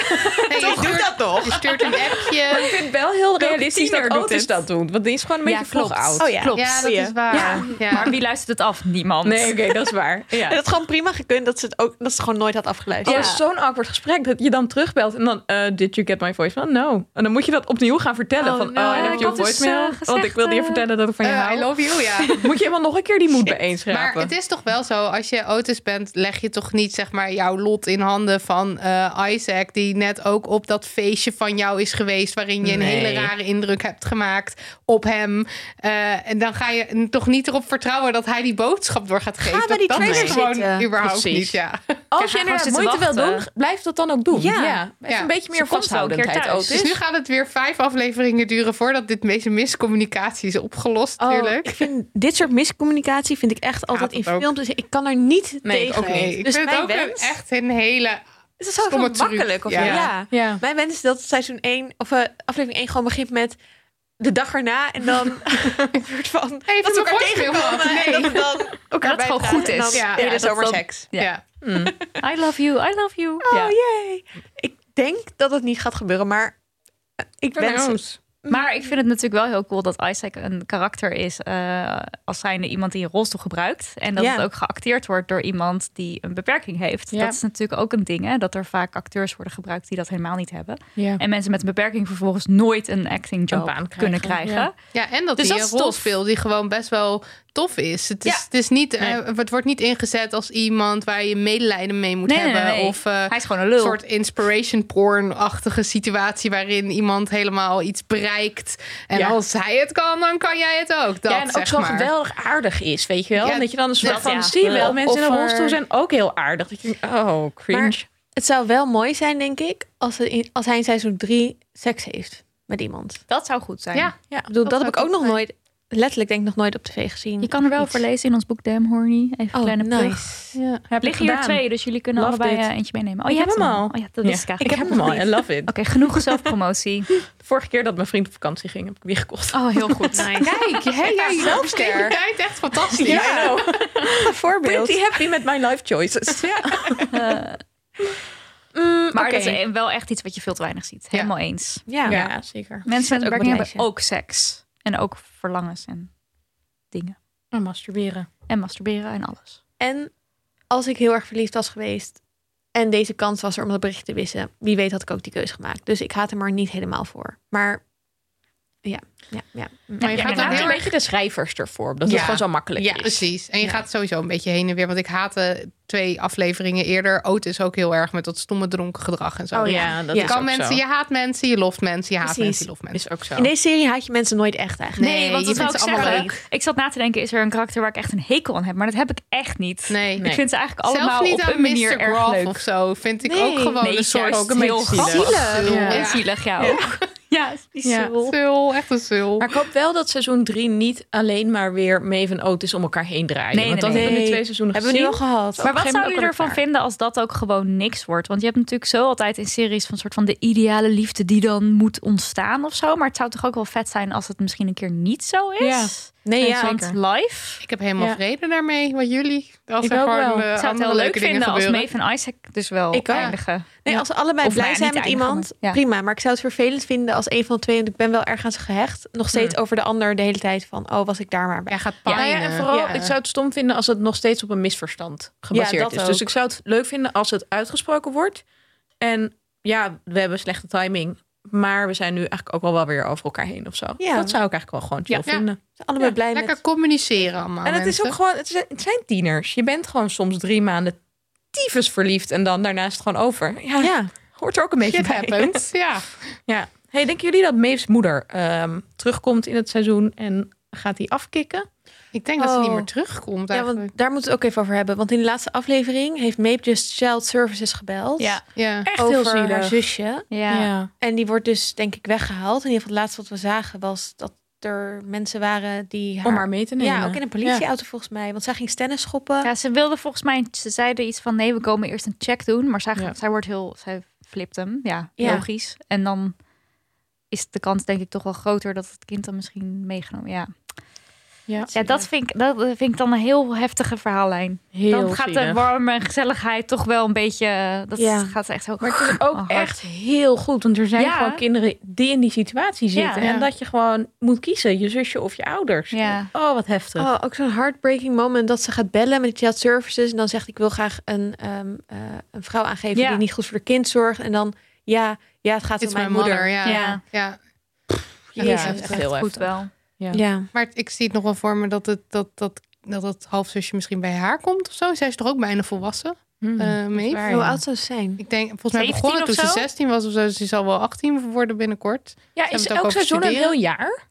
Speaker 3: je stuurt-
Speaker 1: toch?
Speaker 3: Je stuurt een
Speaker 2: Maar ik
Speaker 3: appje.
Speaker 2: vind het wel heel realistisch
Speaker 4: tiener
Speaker 2: dat
Speaker 4: doet
Speaker 2: Otis
Speaker 4: het.
Speaker 2: dat doet. Want die is gewoon een
Speaker 4: Ja,
Speaker 2: beetje vroeg
Speaker 4: klopt.
Speaker 2: oud.
Speaker 1: Oh ja.
Speaker 4: Klopt.
Speaker 3: Ja, dat
Speaker 1: Zie je.
Speaker 3: is waar.
Speaker 4: Ja.
Speaker 3: Ja.
Speaker 4: Maar wie luistert het af? Niemand.
Speaker 2: Nee, oké, dat is waar. Ja.
Speaker 1: En dat gewoon prima gekund dat ze het ook dat ze het gewoon nooit had
Speaker 2: Oh,
Speaker 1: afgeluisterd.
Speaker 2: dat is zo'n awkward gesprek dat je dan terugbelt en dan eh, did you get my voicemail? No. En dan moet je dat opnieuw gaan vertellen
Speaker 1: Oh,
Speaker 2: van
Speaker 1: no.
Speaker 2: oh, I
Speaker 1: Ja,
Speaker 2: love
Speaker 1: ik
Speaker 2: your
Speaker 4: had dus,
Speaker 2: voicemail.
Speaker 4: eh, gezegd,
Speaker 2: want ik wilde je
Speaker 4: eh,
Speaker 2: vertellen dat ik van je
Speaker 3: Eh,
Speaker 2: hou.
Speaker 3: I love you, ja.
Speaker 2: Moet je helemaal nog een keer die moed bijeenschrapen?
Speaker 3: Maar het is toch wel zo, als je Otis bent, leg je toch niet zeg maar jouw lot in handen van eh, Isaac, die net ook op dat feestje van jou is geweest, waarin je een
Speaker 2: Nee.
Speaker 3: hele rare indruk hebt gemaakt op hem. Eh, en dan ga je toch niet erop vertrouwen dat hij die boodschap door gaat geven.
Speaker 1: bij die
Speaker 3: dat
Speaker 1: trailer
Speaker 3: is gewoon
Speaker 1: zitten.
Speaker 3: überhaupt
Speaker 2: Precies.
Speaker 3: niet, ja.
Speaker 2: Als
Speaker 4: Ja,
Speaker 2: je inderdaad
Speaker 4: gewoon zitten
Speaker 2: moeite wil doen,
Speaker 4: wachten.
Speaker 2: blijf dat dan ook doen.
Speaker 1: Ja.
Speaker 2: Even
Speaker 3: Ja.
Speaker 2: een beetje
Speaker 4: Ze
Speaker 2: meer
Speaker 4: komt wel een keer
Speaker 2: vasthoudendheid,
Speaker 4: thuis.
Speaker 3: Dus nu
Speaker 2: Otis.
Speaker 3: gaat het weer vijf afleveringen duren voordat dit deze miscommunicatie is
Speaker 1: Oh.
Speaker 3: opgelost, natuurlijk.
Speaker 1: ik vind dit soort miscommunicatie vind ik echt altijd
Speaker 3: dat
Speaker 1: in
Speaker 3: ook.
Speaker 1: films. Dus Ik kan er niet
Speaker 2: Nee, ik
Speaker 1: tegen.
Speaker 2: ook niet.
Speaker 3: Nee, ik
Speaker 1: Dus
Speaker 3: vind het
Speaker 1: mijn
Speaker 3: ook een-
Speaker 1: wens,
Speaker 3: echt een hele...
Speaker 1: Het is zo
Speaker 3: stomme truc.
Speaker 1: makkelijk. Of
Speaker 3: Ja.
Speaker 1: ja.
Speaker 2: Ja.
Speaker 1: Mijn wens is dat seizoen 1, of eh, aflevering 1 gewoon begint met de dag erna. En dan een soort van
Speaker 3: Even
Speaker 1: dat ze elkaar
Speaker 3: mijn voicemail
Speaker 1: tegenkomen.
Speaker 3: gehad.
Speaker 1: En dat het dan elkaar
Speaker 4: Dat het gewoon
Speaker 1: bijpraten
Speaker 4: goed
Speaker 1: en dan
Speaker 4: is.
Speaker 1: Ja,
Speaker 3: Ja,
Speaker 1: hele
Speaker 3: ja, dat
Speaker 1: zomerseks.
Speaker 4: Ja.
Speaker 3: ja.
Speaker 4: I love you, I love you.
Speaker 1: Oh
Speaker 4: Ja.
Speaker 1: jee. Ik denk dat het niet gaat gebeuren, maar eh, ik
Speaker 2: Who
Speaker 1: wens het.
Speaker 2: knows?
Speaker 4: Maar ik vind het natuurlijk wel heel cool dat Isaac een karakter is eh, als zijnde iemand die een rolstoel gebruikt. En dat
Speaker 1: Ja.
Speaker 4: het ook geacteerd wordt door iemand die een beperking heeft.
Speaker 2: Ja.
Speaker 4: Dat is natuurlijk ook een ding, hè, dat er vaak acteurs worden gebruikt die dat helemaal niet hebben.
Speaker 2: Ja.
Speaker 4: En mensen met een beperking vervolgens nooit een acting job
Speaker 2: Een baan krijgen,
Speaker 4: kunnen krijgen.
Speaker 2: ja.
Speaker 3: Ja, en dat
Speaker 4: Dus
Speaker 3: hij
Speaker 4: dat
Speaker 3: een
Speaker 4: is
Speaker 3: rol
Speaker 4: tof.
Speaker 3: speelt die gewoon best wel tof is. Het, is,
Speaker 4: Ja.
Speaker 3: het, is niet, eh,
Speaker 2: Nee.
Speaker 3: het wordt niet ingezet als iemand waar je medelijden mee moet
Speaker 4: Nee, nee,
Speaker 3: hebben.
Speaker 4: nee, nee.
Speaker 3: Of eh,
Speaker 4: Hij is gewoon een
Speaker 3: een
Speaker 4: lul.
Speaker 3: soort inspiration porn-achtige situatie waarin iemand helemaal iets bereikt. En
Speaker 2: Ja.
Speaker 3: als hij het kan, dan kan jij het ook. Dat,
Speaker 2: ja, en ook
Speaker 3: zeg
Speaker 2: zo
Speaker 3: maar.
Speaker 2: geweldig aardig is, weet je wel.
Speaker 3: Ja,
Speaker 2: En dat je dan een soort
Speaker 4: dat
Speaker 2: van,
Speaker 4: ja.
Speaker 2: zie je wel,
Speaker 1: Of-
Speaker 2: mensen in
Speaker 1: of
Speaker 2: een
Speaker 1: er-
Speaker 2: rolstoel zijn ook heel aardig. Dat je denkt, oh, cringe.
Speaker 1: Maar het zou wel mooi zijn, denk ik, als, het in- als hij in seizoen 3 seks heeft met iemand.
Speaker 4: Dat zou goed zijn.
Speaker 3: Ja.
Speaker 1: Ik bedoel, dat,
Speaker 3: Dat
Speaker 1: heb ik
Speaker 3: zou
Speaker 1: ook
Speaker 3: goed
Speaker 1: nog
Speaker 3: zijn.
Speaker 1: nooit letterlijk denk ik nog nooit op tv gezien.
Speaker 4: Je kan er wel
Speaker 1: Iets.
Speaker 4: voor lezen in ons boek Damn Horny. Even
Speaker 1: Oh,
Speaker 4: kleine plug.
Speaker 1: nice.
Speaker 3: Ja.
Speaker 4: Er liggen hier
Speaker 2: gedaan.
Speaker 4: twee, dus jullie kunnen
Speaker 2: Love
Speaker 4: allebei
Speaker 2: dit.
Speaker 4: eh, eentje meenemen. Oh,
Speaker 2: Ik
Speaker 4: je
Speaker 2: heb
Speaker 4: hebt
Speaker 2: hem al.
Speaker 4: Oh ja, dat is
Speaker 2: Ja,
Speaker 4: gaaf.
Speaker 2: ik heb
Speaker 4: nog
Speaker 2: hem al.
Speaker 4: niet.
Speaker 2: I love it.
Speaker 4: Oké, genoeg zelfpromotie.
Speaker 2: De vorige keer dat mijn vriend op vakantie ging, heb ik die gekocht.
Speaker 4: Oh, heel goed.
Speaker 3: Kijk, jij jij zelfcare. kijkt echt fantastisch.
Speaker 2: I know.
Speaker 1: Een voorbeeld.
Speaker 2: Pretty happy met my life choices.
Speaker 4: Eh,
Speaker 2: Mm,
Speaker 4: maar
Speaker 2: oké.
Speaker 4: dat is wel echt iets wat je veel te weinig ziet. Helemaal eens.
Speaker 1: Ja.
Speaker 2: ja, zeker.
Speaker 4: Mensen met
Speaker 1: ook
Speaker 4: beperkingen
Speaker 1: een
Speaker 4: hebben ook seks. En ook verlangens en dingen.
Speaker 2: En masturberen.
Speaker 4: En masturberen en alles.
Speaker 1: En als ik heel erg verliefd was geweest en deze kans was er om dat bericht te wissen, wie weet had ik ook die keuze gemaakt. Dus ik haat hem er niet helemaal voor. Maar ja, ja, ja. Mm.
Speaker 3: Maar je
Speaker 4: Ja,
Speaker 3: gaat
Speaker 4: inderdaad.
Speaker 3: dan
Speaker 2: Laat
Speaker 3: heel
Speaker 2: een
Speaker 3: erg...
Speaker 2: beetje de schrijvers ervoor, dat
Speaker 3: Ja.
Speaker 2: het gewoon zo makkelijk
Speaker 3: Ja,
Speaker 2: is.
Speaker 3: precies. En je gaat sowieso een beetje heen en weer. Want ik haatte twee afleveringen eerder. Otis ook heel erg met dat stomme dronken gedrag en zo.
Speaker 1: Oh,
Speaker 2: ja, dat
Speaker 1: Ja.
Speaker 2: is
Speaker 3: kan
Speaker 2: ook
Speaker 3: mensen,
Speaker 2: zo.
Speaker 3: je haat mensen, je loft mensen, je haat
Speaker 1: Precies.
Speaker 3: mensen, je loft mensen.
Speaker 2: Is ook zo.
Speaker 1: In deze serie haat je mensen nooit echt eigenlijk.
Speaker 4: Nee, want dat
Speaker 3: je
Speaker 4: zou
Speaker 3: vindt
Speaker 4: ik
Speaker 3: ze allemaal
Speaker 4: zeggen. Ik zat na te denken, is er een karakter waar ik echt een hekel aan heb? Maar dat heb ik echt niet.
Speaker 3: Nee.
Speaker 2: Nee.
Speaker 4: Ik vind ze eigenlijk
Speaker 3: Zelfs
Speaker 4: allemaal
Speaker 3: niet
Speaker 4: op
Speaker 3: aan
Speaker 4: een manier
Speaker 3: Mr.
Speaker 4: erg
Speaker 3: Groff
Speaker 4: leuk.
Speaker 3: of zo. Vind ik
Speaker 1: Nee.
Speaker 3: ook gewoon
Speaker 4: Nee,
Speaker 3: een soort...
Speaker 4: juist. Heel
Speaker 2: zielig.
Speaker 1: Zielig.
Speaker 3: Ja.
Speaker 4: En zielig, ja ook. Ja, die
Speaker 2: Ja.
Speaker 4: zul.
Speaker 3: Zul, echt een zul.
Speaker 2: Maar ik hoop wel dat seizoen 3 niet alleen maar weer Maeve en Otis om elkaar heen draaien.
Speaker 4: Nee,
Speaker 2: want
Speaker 4: nee,
Speaker 2: dat
Speaker 4: nee.
Speaker 2: hebben we nu
Speaker 1: Nee.
Speaker 2: twee seizoenen
Speaker 1: Hebben we nu
Speaker 2: gezien.
Speaker 1: al gehad.
Speaker 2: op
Speaker 4: Maar
Speaker 2: een
Speaker 4: wat
Speaker 2: gegeven
Speaker 4: zou je
Speaker 2: moment ook
Speaker 4: ervan
Speaker 2: elkaar.
Speaker 4: vinden als dat ook gewoon niks wordt? Want je hebt natuurlijk zo altijd in series van soort van de ideale liefde die dan moet ontstaan of zo. Maar het zou toch ook wel vet zijn als het misschien een keer niet zo is?
Speaker 1: nee, ja,
Speaker 4: Want live.
Speaker 3: Ik heb helemaal
Speaker 2: Ja.
Speaker 3: vrede daarmee wat jullie. Als
Speaker 2: Ik
Speaker 3: er
Speaker 2: ook
Speaker 3: gewoon
Speaker 2: wel.
Speaker 3: eh,
Speaker 4: Ik zou het
Speaker 3: andere
Speaker 4: heel leuk
Speaker 3: leuke dingen
Speaker 4: vinden als
Speaker 3: gebeuren.
Speaker 4: Maeve en Isaac dus wel
Speaker 1: Ik ook.
Speaker 4: eindigen.
Speaker 1: Nee,
Speaker 4: Ja.
Speaker 1: als ze allebei
Speaker 4: Of
Speaker 1: blij
Speaker 4: nou ja,
Speaker 1: zijn
Speaker 4: niet
Speaker 1: met
Speaker 4: eindigen,
Speaker 1: iemand,
Speaker 4: maar- ja.
Speaker 1: prima. Maar ik zou het vervelend vinden als een van de twee, want ik ben wel erg aan ze gehecht, nog steeds
Speaker 2: Hmm.
Speaker 1: over de ander de hele tijd van, oh, was ik daar maar bij.
Speaker 3: Jij gaat
Speaker 2: Ja,
Speaker 3: pijnen.
Speaker 2: nou ja, en vooral, ik zou het stom vinden als het nog steeds op een misverstand
Speaker 1: Ja,
Speaker 2: gebaseerd
Speaker 1: dat
Speaker 2: is. Dus
Speaker 1: ook.
Speaker 2: ik zou het leuk vinden als het uitgesproken wordt. En ja, we hebben slechte timing. Maar we zijn nu eigenlijk ook al wel weer over elkaar heen of zo.
Speaker 1: Ja.
Speaker 2: Dat zou ik eigenlijk wel gewoon chill
Speaker 3: Ja.
Speaker 2: vinden.
Speaker 1: Ze zijn allebei
Speaker 3: Ja,
Speaker 1: blij
Speaker 3: Lekker
Speaker 1: met.
Speaker 3: communiceren allemaal.
Speaker 2: En het is
Speaker 3: mensen.
Speaker 2: ook gewoon, het zijn, het zijn tieners. Je bent gewoon soms drie maanden tyfus verliefd en dan daarna is het gewoon over. Ja,
Speaker 1: Ja,
Speaker 2: hoort er ook een beetje
Speaker 3: Shit
Speaker 2: bij.
Speaker 3: happens. Ja.
Speaker 2: Ja. Hey, denken jullie dat Maeve's moeder ehm, terugkomt in het seizoen en gaat die afkicken?
Speaker 3: Ik denk dat ze niet
Speaker 1: Oh.
Speaker 3: meer terugkomt
Speaker 1: ja,
Speaker 3: eigenlijk.
Speaker 1: want daar moeten we het ook even over hebben. Want in de laatste aflevering heeft Mape dus Child Services gebeld.
Speaker 4: Ja.
Speaker 3: Ja.
Speaker 2: Echt
Speaker 1: over
Speaker 2: heel zielig.
Speaker 1: haar zusje.
Speaker 4: Ja.
Speaker 1: En die wordt dus denk ik weggehaald. In ieder geval het laatste wat we zagen was dat er mensen waren die haar...
Speaker 2: Om haar mee te nemen.
Speaker 1: ja, ook in een politieauto volgens mij. Want zij ging tennis schoppen.
Speaker 4: Ja, ze wilde volgens mij, ze zeiden iets van nee, we komen eerst een check doen. Maar zij,
Speaker 2: Ja.
Speaker 4: zij wordt heel, zij flipt hem. Ja,
Speaker 1: Ja.
Speaker 4: logisch. En dan is de kans denk ik toch wel groter dat het kind dan misschien meegenomen. Ja,
Speaker 2: Ja,
Speaker 4: ja dat, vind ik, dat vind ik dan een heel heftige verhaallijn.
Speaker 2: heel
Speaker 4: dan gaat de
Speaker 2: zielig.
Speaker 4: warme gezelligheid toch wel een beetje, eh, dat
Speaker 1: Ja.
Speaker 4: gaat echt heel...
Speaker 2: Maar het is ook
Speaker 4: Oh, hard.
Speaker 2: echt heel goed. Want er zijn
Speaker 4: Ja.
Speaker 2: gewoon kinderen die in die situatie zitten.
Speaker 3: Ja.
Speaker 2: En dat je gewoon moet kiezen. Je zusje of je ouders.
Speaker 4: Ja.
Speaker 2: Oh, wat heftig.
Speaker 1: Oh, ook zo'n heartbreaking moment dat ze gaat bellen met de child services. En dan zegt ik wil graag een, ehm, eh, een vrouw aangeven
Speaker 4: Ja.
Speaker 1: die niet goed voor de kind zorgt. En dan ja, ja het gaat
Speaker 3: Het is
Speaker 1: om mijn
Speaker 3: mijn
Speaker 1: moeder.
Speaker 3: moeder. Ja.
Speaker 4: Ja.
Speaker 3: Ja.
Speaker 2: Ja,
Speaker 1: Jezus.
Speaker 2: dat is echt heel
Speaker 4: goed
Speaker 2: heftig.
Speaker 4: wel.
Speaker 1: Ja.
Speaker 2: Ja.
Speaker 3: Maar het- ik zie het nog wel voor me dat het, dat, dat, dat het halfzusje misschien bij haar komt of zo. Zij is toch ook bijna volwassen
Speaker 2: Hmm.
Speaker 3: eh mee.
Speaker 2: waar,
Speaker 1: Hoe
Speaker 2: ja.
Speaker 1: oud zou ze zijn?
Speaker 3: Ik denk, volgens mij
Speaker 4: 17
Speaker 3: begonnen
Speaker 4: of
Speaker 3: toen ze
Speaker 4: zo?
Speaker 3: 16 was of zo. Dus die zal wel 18 worden binnenkort.
Speaker 2: Ja,
Speaker 3: hebben
Speaker 2: is
Speaker 3: het ook
Speaker 2: elk
Speaker 3: over
Speaker 2: seizoen een
Speaker 3: studeren.
Speaker 2: heel jaar?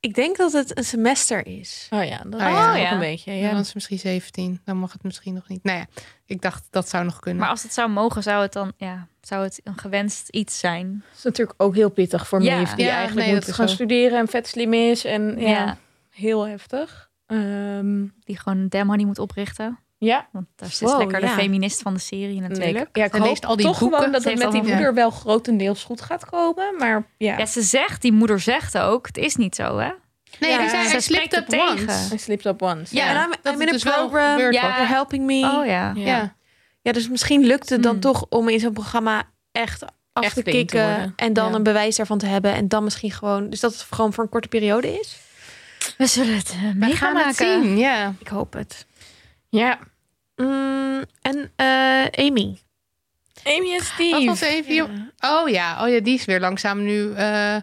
Speaker 1: Ik denk dat het een semester is.
Speaker 2: Oh ja, dat
Speaker 3: Oh
Speaker 2: is
Speaker 3: ja.
Speaker 2: nog
Speaker 4: Oh ja.
Speaker 2: een beetje.
Speaker 3: Ja.
Speaker 2: Ja.
Speaker 3: Dan is ze misschien 17. Dan mag het misschien nog niet. Nou ja, ik dacht dat zou nog kunnen.
Speaker 4: Maar als het zou mogen, zou het dan, ja, zou het een gewenst iets zijn.
Speaker 2: Dat is natuurlijk ook heel pittig voor
Speaker 4: Ja.
Speaker 2: ja. die
Speaker 3: Ja,
Speaker 2: eigenlijk
Speaker 3: nee, dat
Speaker 2: moet
Speaker 3: is
Speaker 2: gaan
Speaker 3: zo.
Speaker 2: studeren en vet slim is. En ja,
Speaker 4: Ja.
Speaker 2: heel heftig. Ehm,
Speaker 4: Die gewoon een damn honey moet oprichten.
Speaker 2: ja,
Speaker 4: Want daar is
Speaker 1: Wow,
Speaker 4: lekker
Speaker 1: ja.
Speaker 4: de feminist van de serie
Speaker 2: nee,
Speaker 4: natuurlijk.
Speaker 2: ik- ja, ik
Speaker 3: Zij leest
Speaker 2: hoop
Speaker 3: al die
Speaker 2: toch
Speaker 3: boeken.
Speaker 2: gewoon dat
Speaker 4: Ze
Speaker 2: het
Speaker 4: heeft
Speaker 2: met die
Speaker 4: allemaal-
Speaker 2: moeder wel grotendeels goed gaat komen. Maar ja,
Speaker 4: Ja, ze zegt, die moeder zegt ook, het is niet zo, hè?
Speaker 3: nee, die
Speaker 1: Ja.
Speaker 3: zei,
Speaker 4: Ze
Speaker 3: hij
Speaker 4: spreekt
Speaker 3: slipped up
Speaker 4: het tegen.
Speaker 3: once.
Speaker 2: I slipped up once.
Speaker 3: Ja,
Speaker 1: en I'm,
Speaker 3: dat
Speaker 1: I'm
Speaker 3: het
Speaker 1: in a
Speaker 3: dus wel
Speaker 1: program.
Speaker 3: gebeurd
Speaker 4: Ja.
Speaker 3: was.
Speaker 4: was.
Speaker 1: They're helping me.
Speaker 4: Oh ja.
Speaker 2: Ja.
Speaker 3: Ja.
Speaker 1: Ja, dus misschien lukt het dan
Speaker 4: Hmm.
Speaker 1: toch om in zo'n programma echt af
Speaker 2: Echt
Speaker 1: te
Speaker 2: flink te
Speaker 1: kicken.
Speaker 2: worden.
Speaker 1: en dan
Speaker 2: Ja.
Speaker 1: een bewijs daarvan te hebben. En dan misschien gewoon. Dus dat het gewoon voor een korte periode is.
Speaker 4: We zullen het eh,
Speaker 3: We
Speaker 4: mee gaan
Speaker 3: gaan het
Speaker 4: maken.
Speaker 3: zien, ja.
Speaker 1: Ik hoop het.
Speaker 2: Ja,
Speaker 1: Mm, en eh, Amy.
Speaker 2: Amy en
Speaker 3: Wat
Speaker 2: Steve.
Speaker 3: was even... hier- Oh ja, oh ja, die is weer langzaam nu eh, aan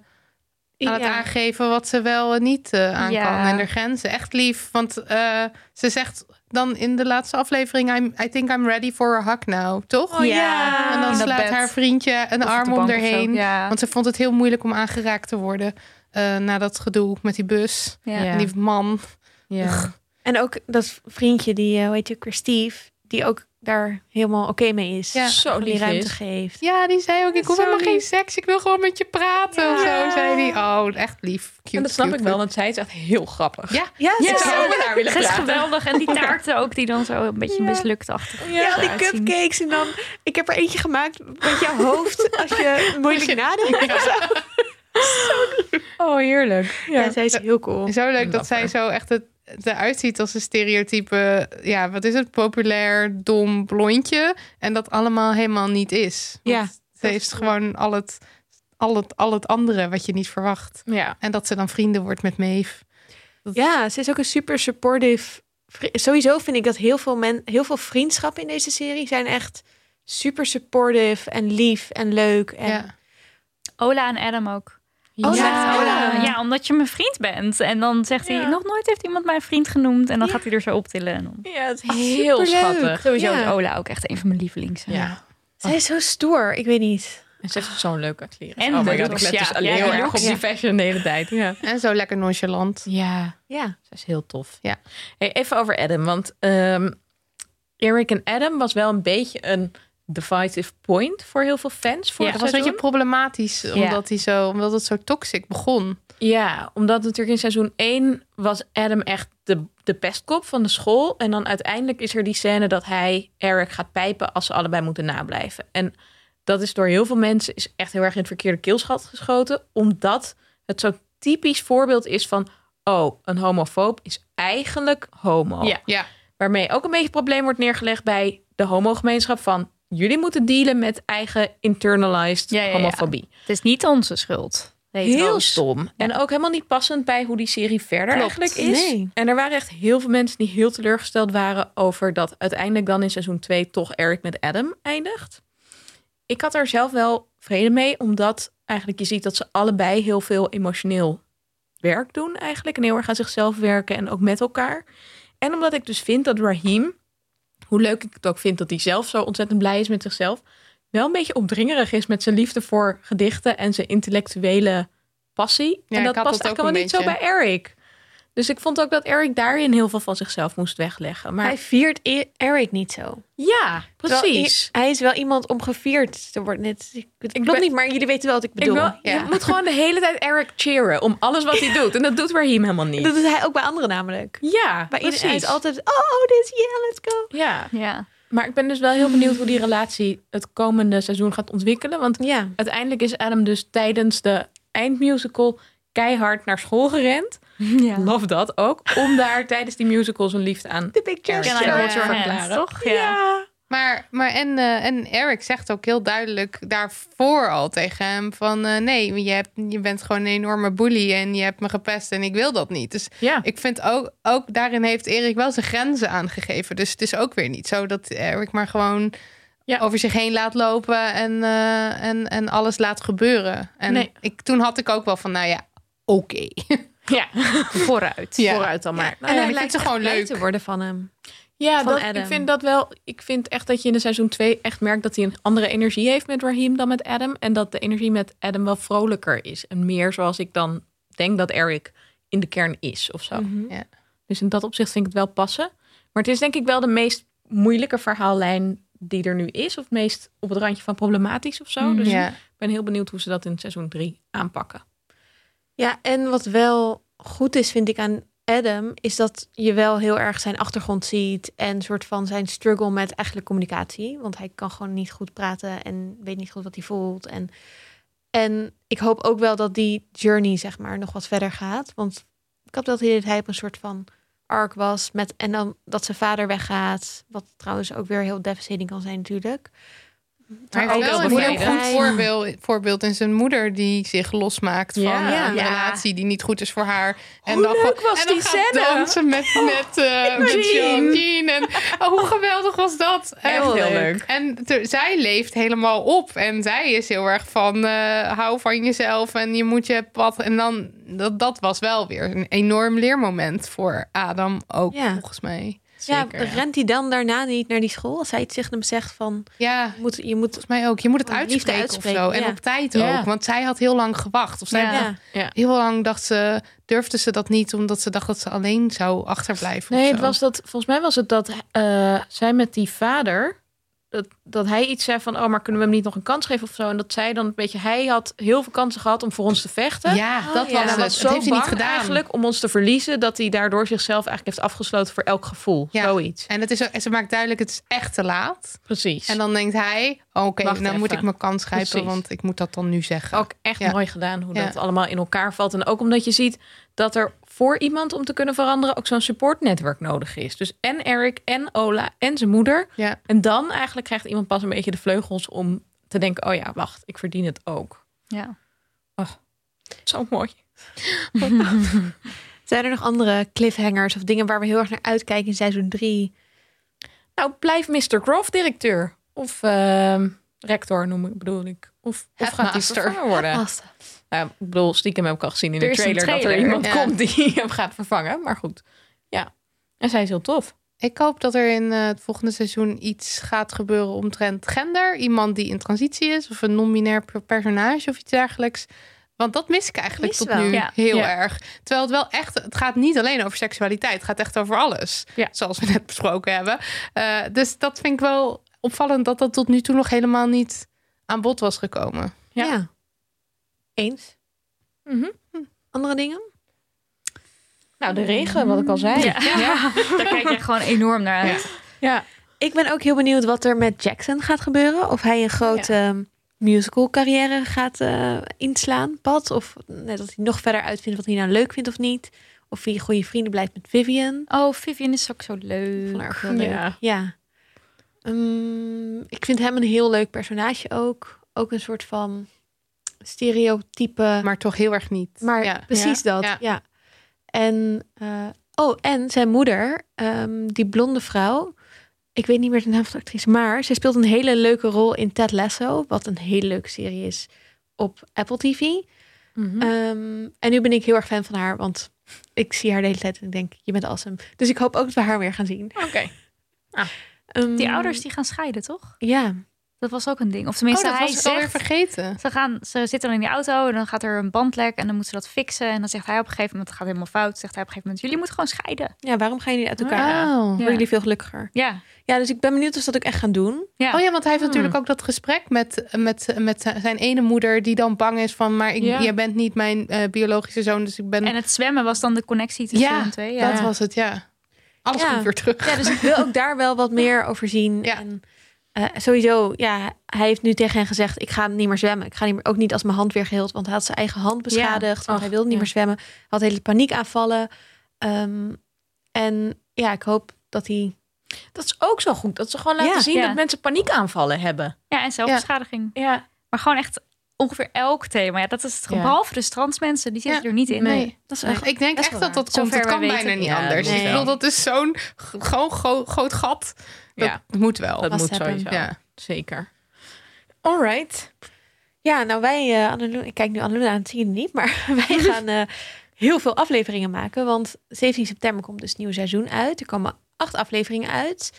Speaker 3: het
Speaker 1: Ja.
Speaker 3: aangeven wat ze wel en niet eh, aan
Speaker 4: Ja.
Speaker 3: kan. En de grenzen. Echt lief. Want eh, ze zegt dan in de laatste aflevering... I'm, I think I'm ready for a hug now. Toch?
Speaker 1: Oh, ja.
Speaker 3: En dan
Speaker 4: In dat
Speaker 3: slaat
Speaker 4: bed.
Speaker 3: haar vriendje een
Speaker 4: Of op de
Speaker 3: arm om
Speaker 4: bank of
Speaker 3: haar
Speaker 4: zo.
Speaker 3: heen.
Speaker 4: Ja.
Speaker 3: Want ze vond het heel moeilijk om aangeraakt te worden... eh, na dat gedoe met die bus.
Speaker 4: Ja.
Speaker 3: En die man.
Speaker 2: Ja.
Speaker 1: En ook dat vriendje, die, eh, hoe heet je, ook weer Steve, die ook daar helemaal oké mee is.
Speaker 3: Ja.
Speaker 2: Zo
Speaker 1: Gewoon die
Speaker 2: lief
Speaker 1: ruimte
Speaker 2: is.
Speaker 1: geeft.
Speaker 3: Ja, die zei ook, ik hoef
Speaker 1: Zo
Speaker 3: helemaal geen
Speaker 1: lief.
Speaker 3: seks. Ik wil gewoon met je praten of zo, zei die. Oh, echt lief. Cute,
Speaker 2: en dat snap
Speaker 3: cute,
Speaker 2: ik wel,
Speaker 3: cute.
Speaker 2: want zij is echt heel grappig.
Speaker 3: Ja.
Speaker 1: Ja,
Speaker 2: Ik
Speaker 1: zo.
Speaker 2: zou ook met haar willen
Speaker 5: Het is
Speaker 2: praten.
Speaker 5: geweldig. En die taarten ook, die dan zo een beetje mislukt achter.
Speaker 1: Ja, die cupcakes en dan... Ik heb er eentje gemaakt met je hoofd als je moeilijk nadenkt. of zo.
Speaker 2: Oh, heerlijk.
Speaker 1: Ja,
Speaker 2: Ja.
Speaker 1: zij is heel cool.
Speaker 3: Zo leuk dat zij zo echt het, het eruit ziet als een stereotype. Ja, wat is het? Populair, dom, blondje. En dat allemaal helemaal niet is. Want
Speaker 1: Ja,
Speaker 3: Ze heeft gewoon al het, al, het, al het andere wat je niet verwacht.
Speaker 2: Ja.
Speaker 3: En dat ze dan vrienden wordt met Maeve.
Speaker 1: Ja, ze is ook een super supportive. vri- Sowieso vind ik dat heel veel, men, heel veel vriendschappen in deze serie zijn echt super supportive en lief en leuk. En
Speaker 3: Ja.
Speaker 5: Ola en Adam ook.
Speaker 1: Oh,
Speaker 5: Zegt
Speaker 1: ja.
Speaker 5: Ola, ja, omdat je mijn vriend bent. En dan zegt
Speaker 2: Ja.
Speaker 5: hij, nog nooit heeft iemand mijn vriend genoemd. En dan
Speaker 1: Ja.
Speaker 5: gaat hij er zo optillen. En dan...
Speaker 2: ja, het is heel schattig.
Speaker 5: Sowieso
Speaker 1: Ja.
Speaker 5: is Ola ook echt een van mijn lievelings.
Speaker 2: Ja.
Speaker 1: Zij is zo stoer, ik weet niet.
Speaker 2: En ze heeft zo'n leuke kleren.
Speaker 5: En
Speaker 2: oh my
Speaker 5: de
Speaker 2: god, ik
Speaker 5: looks,
Speaker 2: let
Speaker 5: ja.
Speaker 2: dus alleen
Speaker 5: Ja,
Speaker 2: heel
Speaker 5: die
Speaker 2: erg op
Speaker 5: looks,
Speaker 2: die
Speaker 1: ja.
Speaker 2: fashion de hele tijd. Ja.
Speaker 3: En zo lekker nonchalant.
Speaker 2: ja.
Speaker 1: Ja.
Speaker 2: Ze is heel tof.
Speaker 3: Ja.
Speaker 2: Hey, even over Adam, want ehm, Eric en Adam was wel een beetje een divisive point voor heel veel fans voor
Speaker 5: Ja,
Speaker 3: Het
Speaker 2: het
Speaker 3: was een beetje
Speaker 2: seizoen.
Speaker 3: problematisch, omdat, hij zo, omdat het zo toxic begon.
Speaker 2: Ja, omdat natuurlijk in seizoen 1 was Adam echt de, de pestkop van de school. En dan uiteindelijk is er die scène dat hij Eric gaat pijpen als ze allebei moeten nablijven. En dat is door heel veel mensen is echt heel erg in het verkeerde keelschat geschoten. Omdat het zo'n typisch voorbeeld is van... oh, een homofoob is eigenlijk homo.
Speaker 5: Ja.
Speaker 3: Ja.
Speaker 2: Waarmee ook een beetje het probleem wordt neergelegd bij de homogemeenschap van... jullie moeten dealen met eigen internalized
Speaker 5: Ja, ja, ja.
Speaker 2: homofobie.
Speaker 5: Het is niet onze schuld.
Speaker 2: Heel
Speaker 5: Hetero's.
Speaker 2: stom. En ook helemaal niet passend bij hoe die serie verder eigenlijk is.
Speaker 1: Nee.
Speaker 2: En er waren echt heel veel mensen die heel teleurgesteld waren over dat uiteindelijk dan in seizoen 2 toch Eric met Adam eindigt. Ik had er zelf wel vrede mee, omdat eigenlijk je ziet dat ze allebei heel veel emotioneel werk doen eigenlijk. En heel erg aan zichzelf werken en ook met elkaar. En omdat ik dus vind dat Raheem, hoe leuk ik het ook vind dat hij zelf zo ontzettend blij is met zichzelf, wel een beetje opdringerig is met zijn liefde voor gedichten en zijn intellectuele passie.
Speaker 3: Ja,
Speaker 2: en dat
Speaker 3: ik had
Speaker 2: past
Speaker 3: dat ook
Speaker 2: eigenlijk helemaal
Speaker 3: een
Speaker 2: niet zo bij Eric. Dus ik vond ook dat Eric daarin heel veel van zichzelf moest wegleggen. Maar
Speaker 1: Hij viert E- Eric niet zo.
Speaker 2: ja,
Speaker 1: Terwijl
Speaker 2: precies.
Speaker 1: i- hij is wel iemand om gevierd te worden. Het, het klopt
Speaker 2: ben-
Speaker 1: niet, maar jullie weten wel wat ik bedoel.
Speaker 2: wil-
Speaker 3: ja.
Speaker 2: Je moet gewoon de hele tijd Eric cheeren om alles wat hij doet. En dat doet Raheem helemaal
Speaker 1: Dat
Speaker 2: niet.
Speaker 1: doet hij ook bij anderen namelijk.
Speaker 2: Ja,
Speaker 1: Bij
Speaker 2: precies.
Speaker 1: iedereen is altijd, oh, dit is, yeah, let's go.
Speaker 2: Ja,
Speaker 5: Ja.
Speaker 2: maar ik ben dus wel heel benieuwd hoe die relatie het komende seizoen gaat ontwikkelen. Want
Speaker 1: Ja.
Speaker 2: uiteindelijk is Adam dus tijdens de eindmusical keihard naar school gerend.
Speaker 5: ja.
Speaker 2: Love dat ook. Om daar tijdens die musical zijn liefde aan.
Speaker 1: The big gesture.
Speaker 5: Can I
Speaker 3: Ja.
Speaker 5: hold your hand,
Speaker 2: Verklaren.
Speaker 5: toch?
Speaker 3: Maar, maar en, eh, en Eric zegt ook heel duidelijk daarvoor al tegen hem van... eh, nee, je, hebt, je bent gewoon een enorme bully en je hebt me gepest en ik wil dat niet. Dus
Speaker 2: Ja.
Speaker 3: ik vind ook, ook daarin heeft Erik wel zijn grenzen aangegeven. Dus het is ook weer niet zo dat Eric maar gewoon
Speaker 2: Ja.
Speaker 3: over zich heen laat lopen en, eh, en, en alles laat gebeuren. En
Speaker 2: Nee.
Speaker 3: ik, toen had ik ook wel van, nou ja, oké.
Speaker 2: ja.
Speaker 5: Vooruit.
Speaker 3: Ja.
Speaker 2: Vooruit dan maar.
Speaker 3: En
Speaker 1: hij
Speaker 3: ik vind
Speaker 1: lijkt
Speaker 3: ze gewoon
Speaker 1: echt blij
Speaker 3: leuk.
Speaker 1: te worden van hem.
Speaker 2: Nou, Ja,
Speaker 1: Van
Speaker 2: dat,
Speaker 1: Adam.
Speaker 2: ik vind dat wel. Ik vind echt dat je in de seizoen 2 echt merkt dat hij een andere energie heeft met Raheem dan met Adam. En dat de energie met Adam wel vrolijker is. En meer zoals ik dan denk dat Eric in de kern is of zo.
Speaker 3: Ja.
Speaker 2: Dus in dat opzicht vind ik het wel passen. Maar het is denk ik wel de meest moeilijke verhaallijn die er nu is. Of het meest op het randje van problematisch of zo. Dus
Speaker 3: Ja.
Speaker 2: ik ben heel benieuwd hoe ze dat in seizoen 3 aanpakken.
Speaker 1: Ja, en wat wel goed is, vind ik aan Adam, is dat je wel heel erg zijn achtergrond ziet en soort van zijn struggle met eigenlijk communicatie. Want hij kan gewoon niet goed praten en weet niet goed wat hij voelt. En, en ik hoop ook wel dat die journey, zeg maar, nog wat verder gaat. Want ik had wel het idee dat hij op een soort van arc was met en dan dat zijn vader weggaat, wat trouwens ook weer heel devastating kan zijn natuurlijk.
Speaker 3: Maar
Speaker 1: Maar
Speaker 3: hij
Speaker 1: ook
Speaker 3: is wel
Speaker 1: heel
Speaker 3: een heel
Speaker 1: bevrijdend.
Speaker 3: goed voorbeeld, voorbeeld in zijn moeder die zich losmaakt van
Speaker 2: Ja.
Speaker 3: eh, een
Speaker 5: Ja.
Speaker 3: relatie die niet goed is voor haar.
Speaker 2: Hoe leuk
Speaker 3: gewoon-
Speaker 2: was
Speaker 3: en dan
Speaker 2: die
Speaker 3: gaat
Speaker 2: scène? Oh.
Speaker 3: dansen met, met, eh, met Jean.
Speaker 2: Jean.
Speaker 3: Jean. En, oh, hoe geweldig was dat?
Speaker 2: Echt
Speaker 3: En-
Speaker 2: heel leuk.
Speaker 3: En ter- zij leeft helemaal op. En zij is heel erg van eh, hou van jezelf en je moet je pad. En dan, dat, dat was wel weer een enorm leermoment voor Adam ook,
Speaker 1: Ja.
Speaker 3: volgens mij.
Speaker 2: zeker.
Speaker 1: ja, rent hij dan daarna niet naar die school als hij het tegen hem zegt van
Speaker 3: Ja,
Speaker 1: je moet, je moet
Speaker 3: volgens mij ook. Je moet het
Speaker 1: Oh, liefde
Speaker 3: uitspreken,
Speaker 1: uitspreken,
Speaker 3: of zo.
Speaker 1: ja.
Speaker 3: En op tijd
Speaker 2: Ja.
Speaker 3: ook. Want zij had heel lang gewacht. Of zij
Speaker 1: ja.
Speaker 3: dacht- heel lang dacht ze, durfde ze dat niet, omdat ze dacht dat ze alleen zou achterblijven. of
Speaker 2: Nee,
Speaker 3: zo.
Speaker 2: het was dat, volgens mij was het dat eh, zij met die vader, dat, dat hij iets zei van, oh, maar kunnen we hem niet nog een kans geven of zo? En dat zij dan een beetje, hij had heel veel kansen gehad om voor ons te vechten.
Speaker 3: Ja,
Speaker 1: Oh,
Speaker 3: dat
Speaker 1: ja.
Speaker 3: was
Speaker 1: Hij
Speaker 3: het.
Speaker 2: Hij was
Speaker 3: Het
Speaker 2: zo
Speaker 3: heeft hij
Speaker 2: bang
Speaker 3: niet gedaan.
Speaker 2: eigenlijk om ons te verliezen, dat hij daardoor zichzelf eigenlijk heeft afgesloten voor elk gevoel.
Speaker 3: Ja.
Speaker 2: Zoiets.
Speaker 3: En het is, ook- en ze maakt duidelijk, het is echt te laat.
Speaker 2: Precies.
Speaker 3: En
Speaker 2: En
Speaker 3: dan denkt hij, oké,
Speaker 2: Wacht
Speaker 3: dan
Speaker 2: even. Oh.
Speaker 3: moet ik mijn kans grijpen,
Speaker 2: Precies.
Speaker 3: want ik moet dat dan nu zeggen.
Speaker 2: ook echt
Speaker 3: Ja.
Speaker 2: mooi gedaan hoe
Speaker 3: Ja.
Speaker 2: dat allemaal in elkaar valt. En ook omdat je ziet dat er voor iemand om te kunnen veranderen ook zo'n supportnetwerk nodig is. Dus en Eric en Ola en zijn moeder.
Speaker 3: Ja.
Speaker 2: En dan eigenlijk krijgt iemand pas een beetje de vleugels om te denken: oh ja, wacht, ik verdien het ook.
Speaker 5: Ja.
Speaker 2: Zo mooi.
Speaker 1: zijn er nog andere cliffhangers of dingen waar we heel erg naar uitkijken in seizoen 3?
Speaker 2: Nou, blijf Mr. Groff directeur. Of ehm, rector noem ik, bedoel ik. Of, of gaat die
Speaker 3: Headmaster.
Speaker 2: vervangen worden?
Speaker 1: Vast.
Speaker 2: Nou, ik bedoel, stiekem heb ik al gezien in
Speaker 5: Er
Speaker 2: de
Speaker 5: is een
Speaker 2: trailer, dat er
Speaker 5: trailer,
Speaker 2: iemand
Speaker 3: ja.
Speaker 2: komt die hem gaat vervangen. Maar goed, ja. En zij is heel tof.
Speaker 3: Ik hoop dat er in eh, het volgende seizoen iets gaat gebeuren omtrent gender. Iemand die in transitie is of een non-binair per- personage of iets dergelijks. Want dat mis ik eigenlijk
Speaker 1: Mis
Speaker 3: tot
Speaker 1: wel.
Speaker 3: nu
Speaker 5: Ja.
Speaker 3: heel
Speaker 2: Ja.
Speaker 3: erg. Terwijl het wel echt, het gaat niet alleen over seksualiteit. Het gaat echt over alles.
Speaker 2: Ja.
Speaker 3: Zoals we net besproken hebben. Eh, dus dat vind ik wel opvallend dat dat tot nu toe nog helemaal niet aan bod was gekomen.
Speaker 1: Ja.
Speaker 2: Ja.
Speaker 1: Eens.
Speaker 2: Mhm.
Speaker 1: Andere dingen?
Speaker 2: Nou, de regen, wat ik al zei.
Speaker 5: Ja. Daar kijk je gewoon enorm naar uit.
Speaker 2: ja.
Speaker 1: Ik ben ook heel benieuwd wat er met Jackson gaat gebeuren. Of hij een grote ehm, musical carrière gaat eh, inslaan, pad. Of net dat hij nog verder uitvindt wat hij nou leuk vindt of niet. Of hij goede vrienden blijft met Vivian.
Speaker 5: Oh, Vivian is ook zo
Speaker 1: Ik vond haar
Speaker 5: leuk.
Speaker 1: ook heel leuk. Ja. Ehm, ik vind hem een heel leuk personage ook. Ook een soort van stereotype.
Speaker 3: Maar toch heel erg niet.
Speaker 1: Maar dus
Speaker 3: ja.
Speaker 1: precies dat, ja.
Speaker 3: Ja.
Speaker 1: En, eh, oh, en zijn moeder, ehm, die blonde vrouw. Ik weet niet meer de naam van de actrice, maar zij speelt een hele leuke rol in Ted Lasso. Wat een hele leuke serie is op Apple TV.
Speaker 5: Hm.
Speaker 2: Mhm.
Speaker 1: Ehm, en nu ben ik heel erg fan van haar, want ik zie haar de hele tijd en ik denk, je bent awesome. Dus ik hoop ook dat we haar weer gaan zien.
Speaker 2: Oké.
Speaker 1: Ehm,
Speaker 5: Die ouders die gaan scheiden, toch?
Speaker 1: Ja,
Speaker 5: Dat was ook een ding. Of
Speaker 3: Oh,
Speaker 5: tenminste,
Speaker 3: dat
Speaker 5: hij
Speaker 3: was ik alweer
Speaker 5: zegt...
Speaker 3: vergeten.
Speaker 5: Ze, gaan, ze zitten dan in die auto en dan gaat er een bandlek en dan moeten ze dat fixen. En dan zegt hij op een gegeven moment, het gaat helemaal fout. Zegt hij op een gegeven moment, jullie moeten gewoon scheiden.
Speaker 1: ja waarom gaan jullie uit elkaar?
Speaker 2: Ah.
Speaker 3: Oh.
Speaker 1: Worden jullie veel gelukkiger?
Speaker 5: Ja,
Speaker 1: Ja, dus ik ben benieuwd of ze dat ook echt gaan doen.
Speaker 5: ja.
Speaker 3: Oh ja, want hij heeft natuurlijk ook dat gesprek met, met, met zijn ene moeder die dan bang is van, maar ik,
Speaker 2: Ja.
Speaker 3: jij bent niet mijn eh, biologische zoon, dus ik ben.
Speaker 5: En het zwemmen was dan de connectie tussen
Speaker 3: Ja,
Speaker 5: hun twee. Ja.
Speaker 3: Dat was het, ja. Alles
Speaker 1: Ja.
Speaker 3: komt weer terug.
Speaker 1: Ja, dus ik wil ook daar wel wat meer over zien.
Speaker 3: Ja.
Speaker 1: En eh, sowieso, ja, hij heeft nu tegen hen gezegd: ik ga niet meer zwemmen. Ik ga niet meer, ook niet als mijn hand weer geheeld, want hij had zijn eigen hand beschadigd. Want
Speaker 2: Och,
Speaker 1: hij wilde niet
Speaker 2: ja.
Speaker 1: meer zwemmen. Hij had hele paniekaanvallen. Ehm en ja, ik hoop dat hij.
Speaker 2: Dat is ook zo goed. Dat ze gewoon laten
Speaker 1: Ja.
Speaker 2: zien
Speaker 5: Ja.
Speaker 2: dat mensen paniekaanvallen hebben.
Speaker 5: ja, en zelfbeschadiging.
Speaker 2: Ja.
Speaker 5: Maar gewoon echt ongeveer elk thema. Ja, dat is het.
Speaker 2: Ja.
Speaker 5: Behalve de strandsmensen, die zitten
Speaker 3: Ja.
Speaker 5: er niet in.
Speaker 3: Nee.
Speaker 1: Dat is
Speaker 3: Nee,
Speaker 1: echt.
Speaker 3: ik denk
Speaker 1: best
Speaker 3: echt
Speaker 1: wel
Speaker 3: dat dat
Speaker 5: waar.
Speaker 3: komt. Dat
Speaker 5: Zover
Speaker 3: kan
Speaker 5: wij
Speaker 3: bijna
Speaker 5: weten.
Speaker 3: niet
Speaker 2: Ja,
Speaker 3: anders.
Speaker 2: dat
Speaker 1: is
Speaker 3: Ik
Speaker 1: wel.
Speaker 3: bedoel, dat is zo'n g- gewoon gro- groot gat. Dat
Speaker 2: Ja.
Speaker 3: moet wel.
Speaker 2: Dat
Speaker 1: Must
Speaker 2: moet
Speaker 1: happen.
Speaker 2: sowieso.
Speaker 3: Ja.
Speaker 2: Zeker. All right.
Speaker 1: Ja, nou wij, eh Anneloen- ik kijk nu Anneloen aan, het zie je niet, maar wij gaan eh, heel veel afleveringen maken. Want 17 september komt dus het nieuwe seizoen uit. Er komen acht afleveringen uit.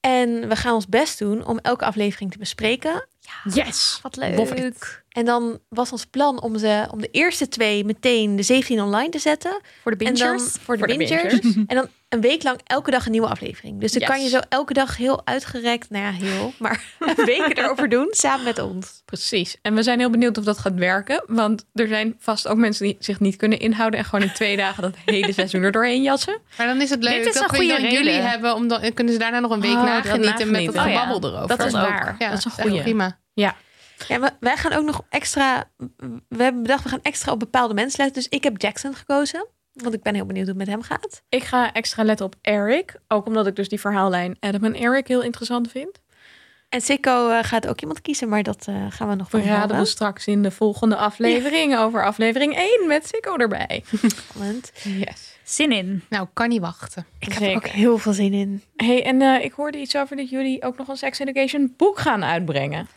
Speaker 1: En we gaan ons best doen om elke aflevering te bespreken.
Speaker 2: Yes.
Speaker 5: Wat leuk.
Speaker 2: Boffert.
Speaker 1: En dan was ons plan om, ze, om de eerste twee meteen de 17 online te zetten.
Speaker 5: Voor de
Speaker 1: En dan
Speaker 5: bingers.
Speaker 1: voor de
Speaker 2: Voor de
Speaker 1: bingers. en dan een week lang elke dag een nieuwe aflevering. Dus dan
Speaker 2: Yes.
Speaker 1: kan je zo elke dag heel uitgerekt, nou ja, heel, maar een week erover doen samen met ons.
Speaker 2: Precies. En we zijn heel benieuwd of dat gaat werken. Want er zijn vast ook mensen die zich niet kunnen inhouden. En gewoon in twee dagen dat hele seizoen er doorheen jassen.
Speaker 3: Maar dan is het leuk
Speaker 5: Dit is
Speaker 3: dat
Speaker 5: een
Speaker 3: we
Speaker 5: goede
Speaker 3: dan jullie
Speaker 5: reden.
Speaker 3: hebben. Om dan, kunnen ze daarna nog een week
Speaker 2: Oh, dat
Speaker 3: nagenieten met dat
Speaker 2: nagenieten.
Speaker 5: Oh ja.
Speaker 3: gebabbel erover.
Speaker 5: Dat is
Speaker 3: ja,
Speaker 5: ook.
Speaker 2: waar.
Speaker 3: Ja,
Speaker 2: dat is een
Speaker 3: echt
Speaker 2: goeie.
Speaker 3: Prima.
Speaker 1: Ja, maar wij gaan ook nog extra, we hebben bedacht, we gaan extra op bepaalde mensen letten. Dus ik heb Jackson gekozen, want ik ben heel benieuwd hoe het met hem gaat.
Speaker 2: Ik ga extra letten op Eric. Ook omdat ik dus die verhaallijn Adam en Eric heel interessant vind.
Speaker 1: En Sikko eh, gaat ook iemand kiezen, maar dat eh, gaan we nog
Speaker 2: We
Speaker 1: van
Speaker 2: raden
Speaker 1: horen.
Speaker 2: we straks in de volgende aflevering over aflevering 1 met Sikko erbij.
Speaker 1: Spannend.
Speaker 2: Yes.
Speaker 5: Zin in.
Speaker 3: Nou, kan niet wachten.
Speaker 1: Ik heb er
Speaker 2: Zeker.
Speaker 1: ook heel veel zin in.
Speaker 2: hey, en eh, ik hoorde iets over dat jullie ook nog een Sex Education boek gaan uitbrengen.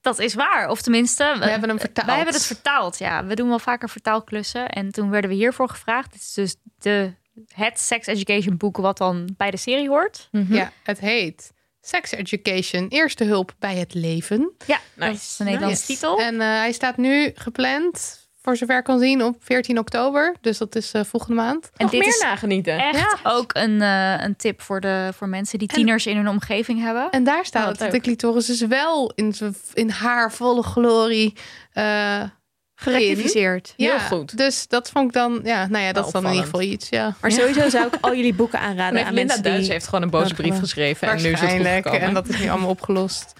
Speaker 5: Dat is waar. Of tenminste,
Speaker 3: We hebben hem vertaald.
Speaker 5: Wij hebben het vertaald, ja. We doen wel vaker vertaalklussen. En toen werden we hiervoor gevraagd. Dit is dus de het sex education boek wat dan bij de serie hoort.
Speaker 2: Mhm.
Speaker 3: Ja, het heet Sex Education, eerste hulp bij het leven.
Speaker 5: Dat is de Nederlandse
Speaker 3: Nice.
Speaker 4: Oh.
Speaker 5: titel.
Speaker 3: En eh, hij staat nu gepland, voor zover ik kan zien, op 14 oktober. Dus dat is eh, volgende maand.
Speaker 5: En
Speaker 2: Nog
Speaker 5: dit
Speaker 2: meer
Speaker 5: is
Speaker 2: nagenieten.
Speaker 5: echt ook een, eh, een tip voor, de, voor mensen die tieners in hun omgeving hebben.
Speaker 3: En daar staat
Speaker 2: Oh,
Speaker 3: het
Speaker 2: wat
Speaker 3: dat de
Speaker 2: leuk.
Speaker 3: clitoris dus wel in, z'n- in haar volle glorie. eh,
Speaker 1: Gerectificeerd.
Speaker 2: Heel
Speaker 3: ja,
Speaker 2: goed.
Speaker 3: Dus dat vond ik dan, ja, nou ja, dat
Speaker 2: Wel
Speaker 3: is dan in ieder geval iets. Ja.
Speaker 1: Maar sowieso zou ik al jullie boeken aanraden
Speaker 2: Nee,
Speaker 1: aan
Speaker 2: Linda
Speaker 1: mensen die...
Speaker 2: Duits heeft gewoon een boze
Speaker 1: Dat
Speaker 2: brief
Speaker 1: kan.
Speaker 2: geschreven. En nu is het goed
Speaker 3: Waarschijnlijk.
Speaker 2: gekomen.
Speaker 3: En dat is nu allemaal opgelost.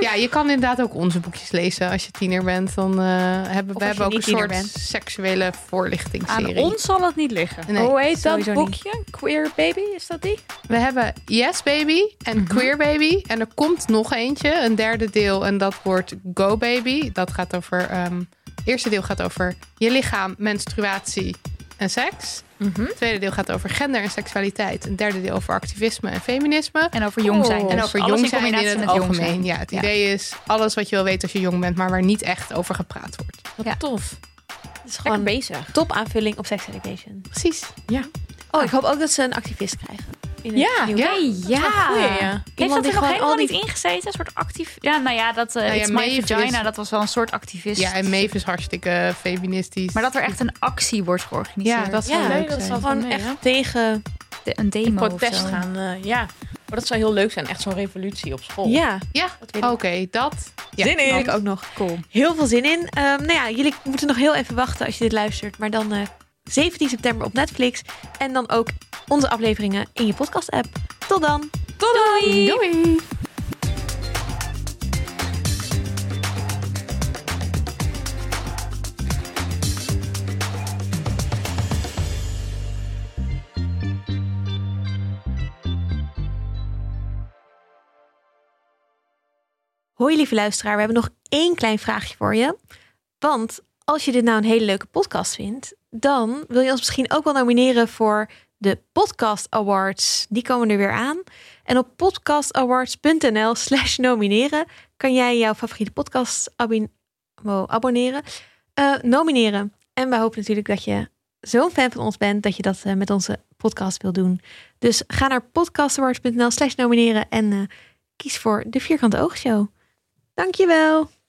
Speaker 3: ja, je kan inderdaad ook onze boekjes lezen als je tiener bent. Dan eh, hebben
Speaker 1: Of
Speaker 3: we
Speaker 1: als je
Speaker 3: hebben ook een
Speaker 1: niet tiener
Speaker 3: soort
Speaker 1: bent.
Speaker 3: seksuele voorlichtingsserie.
Speaker 5: Aan ons zal het niet liggen.
Speaker 3: Nee.
Speaker 2: Hoe heet dat
Speaker 1: sowieso niet.
Speaker 2: boekje? Queer Baby, is dat die?
Speaker 3: We hebben Yes Baby en
Speaker 5: Mhm.
Speaker 3: Queer Baby. En er komt nog eentje, een derde deel. En dat wordt Go Baby. Dat gaat over... ehm, het eerste deel gaat over je lichaam, menstruatie en seks. Het tweede deel gaat over gender en seksualiteit. Een derde deel over activisme en feminisme.
Speaker 5: En over jong zijn.
Speaker 2: Oh.
Speaker 5: dus.
Speaker 3: En over
Speaker 5: Alles
Speaker 3: jong
Speaker 5: in
Speaker 3: zijn in,
Speaker 5: combinatie
Speaker 3: het
Speaker 5: met jong
Speaker 3: algemeen.
Speaker 5: zijn.
Speaker 3: Ja, het
Speaker 5: Ja.
Speaker 3: idee is alles wat je wil weten als je jong bent, maar waar niet echt over gepraat wordt.
Speaker 2: Wat
Speaker 5: Ja.
Speaker 2: tof.
Speaker 1: Het is
Speaker 2: Gewoon
Speaker 1: gewoon een
Speaker 2: bezig.
Speaker 1: top aanvulling op sex education.
Speaker 3: Precies.
Speaker 1: Oh, ik hoop ook dat ze een activist krijgen. In het
Speaker 2: Ja,
Speaker 1: nieuwe
Speaker 3: ja.
Speaker 1: boek.
Speaker 5: Hey, ja.
Speaker 2: ja.
Speaker 5: Heeft dat
Speaker 1: Iemand die
Speaker 5: er nog
Speaker 1: gewoon
Speaker 5: helemaal
Speaker 1: al die-
Speaker 5: niet ingezeten? Een soort actief... Ja, nou ja, dat eh
Speaker 3: Nou ja,
Speaker 5: It's My
Speaker 3: Maeve
Speaker 5: Vagina,
Speaker 3: is-
Speaker 5: dat was wel een soort activist.
Speaker 3: Ja, en Maeve is hartstikke feministisch.
Speaker 5: Maar dat er echt een actie wordt georganiseerd.
Speaker 3: ja, dat is
Speaker 1: Ja,
Speaker 3: wel leuk.
Speaker 2: nee, dat is
Speaker 3: zijn.
Speaker 2: wel-
Speaker 1: Gewoon
Speaker 2: Nee,
Speaker 1: echt
Speaker 2: hè?
Speaker 1: tegen...
Speaker 5: De- een demo
Speaker 2: In
Speaker 5: of
Speaker 2: protest
Speaker 5: zo.
Speaker 2: gaan, eh, ja. Maar dat zou heel leuk zijn. Echt zo'n revolutie op school.
Speaker 1: Oh. Ja, oh.
Speaker 3: Ja,
Speaker 1: dat weet
Speaker 3: oké,
Speaker 1: ik.
Speaker 3: dat. Ja.
Speaker 2: Zin in.
Speaker 1: ik ook nog.
Speaker 5: Cool.
Speaker 1: Heel veel zin in. Ehm, nou ja, jullie moeten nog heel even wachten als je dit luistert. Maar dan eh, 17 september op Netflix. En dan ook onze afleveringen in je podcast-app. Tot dan!
Speaker 2: Tot doei.
Speaker 3: Doei!
Speaker 1: Hoi lieve luisteraar, we hebben nog één klein vraagje voor je. Want als je dit nou een hele leuke podcast vindt, dan wil je ons misschien ook wel nomineren voor de Podcast Awards. Die komen er weer aan. En op podcastawards.nl slash nomineren kan jij jouw favoriete podcast abon- wow, abonneren, eh, nomineren. En wij hopen natuurlijk dat je zo'n fan van ons bent dat je dat eh, met onze podcast wil doen. Dus ga naar podcastawards.nl slash nomineren en eh, kies voor de Vierkante Oogshow. Dankjewel!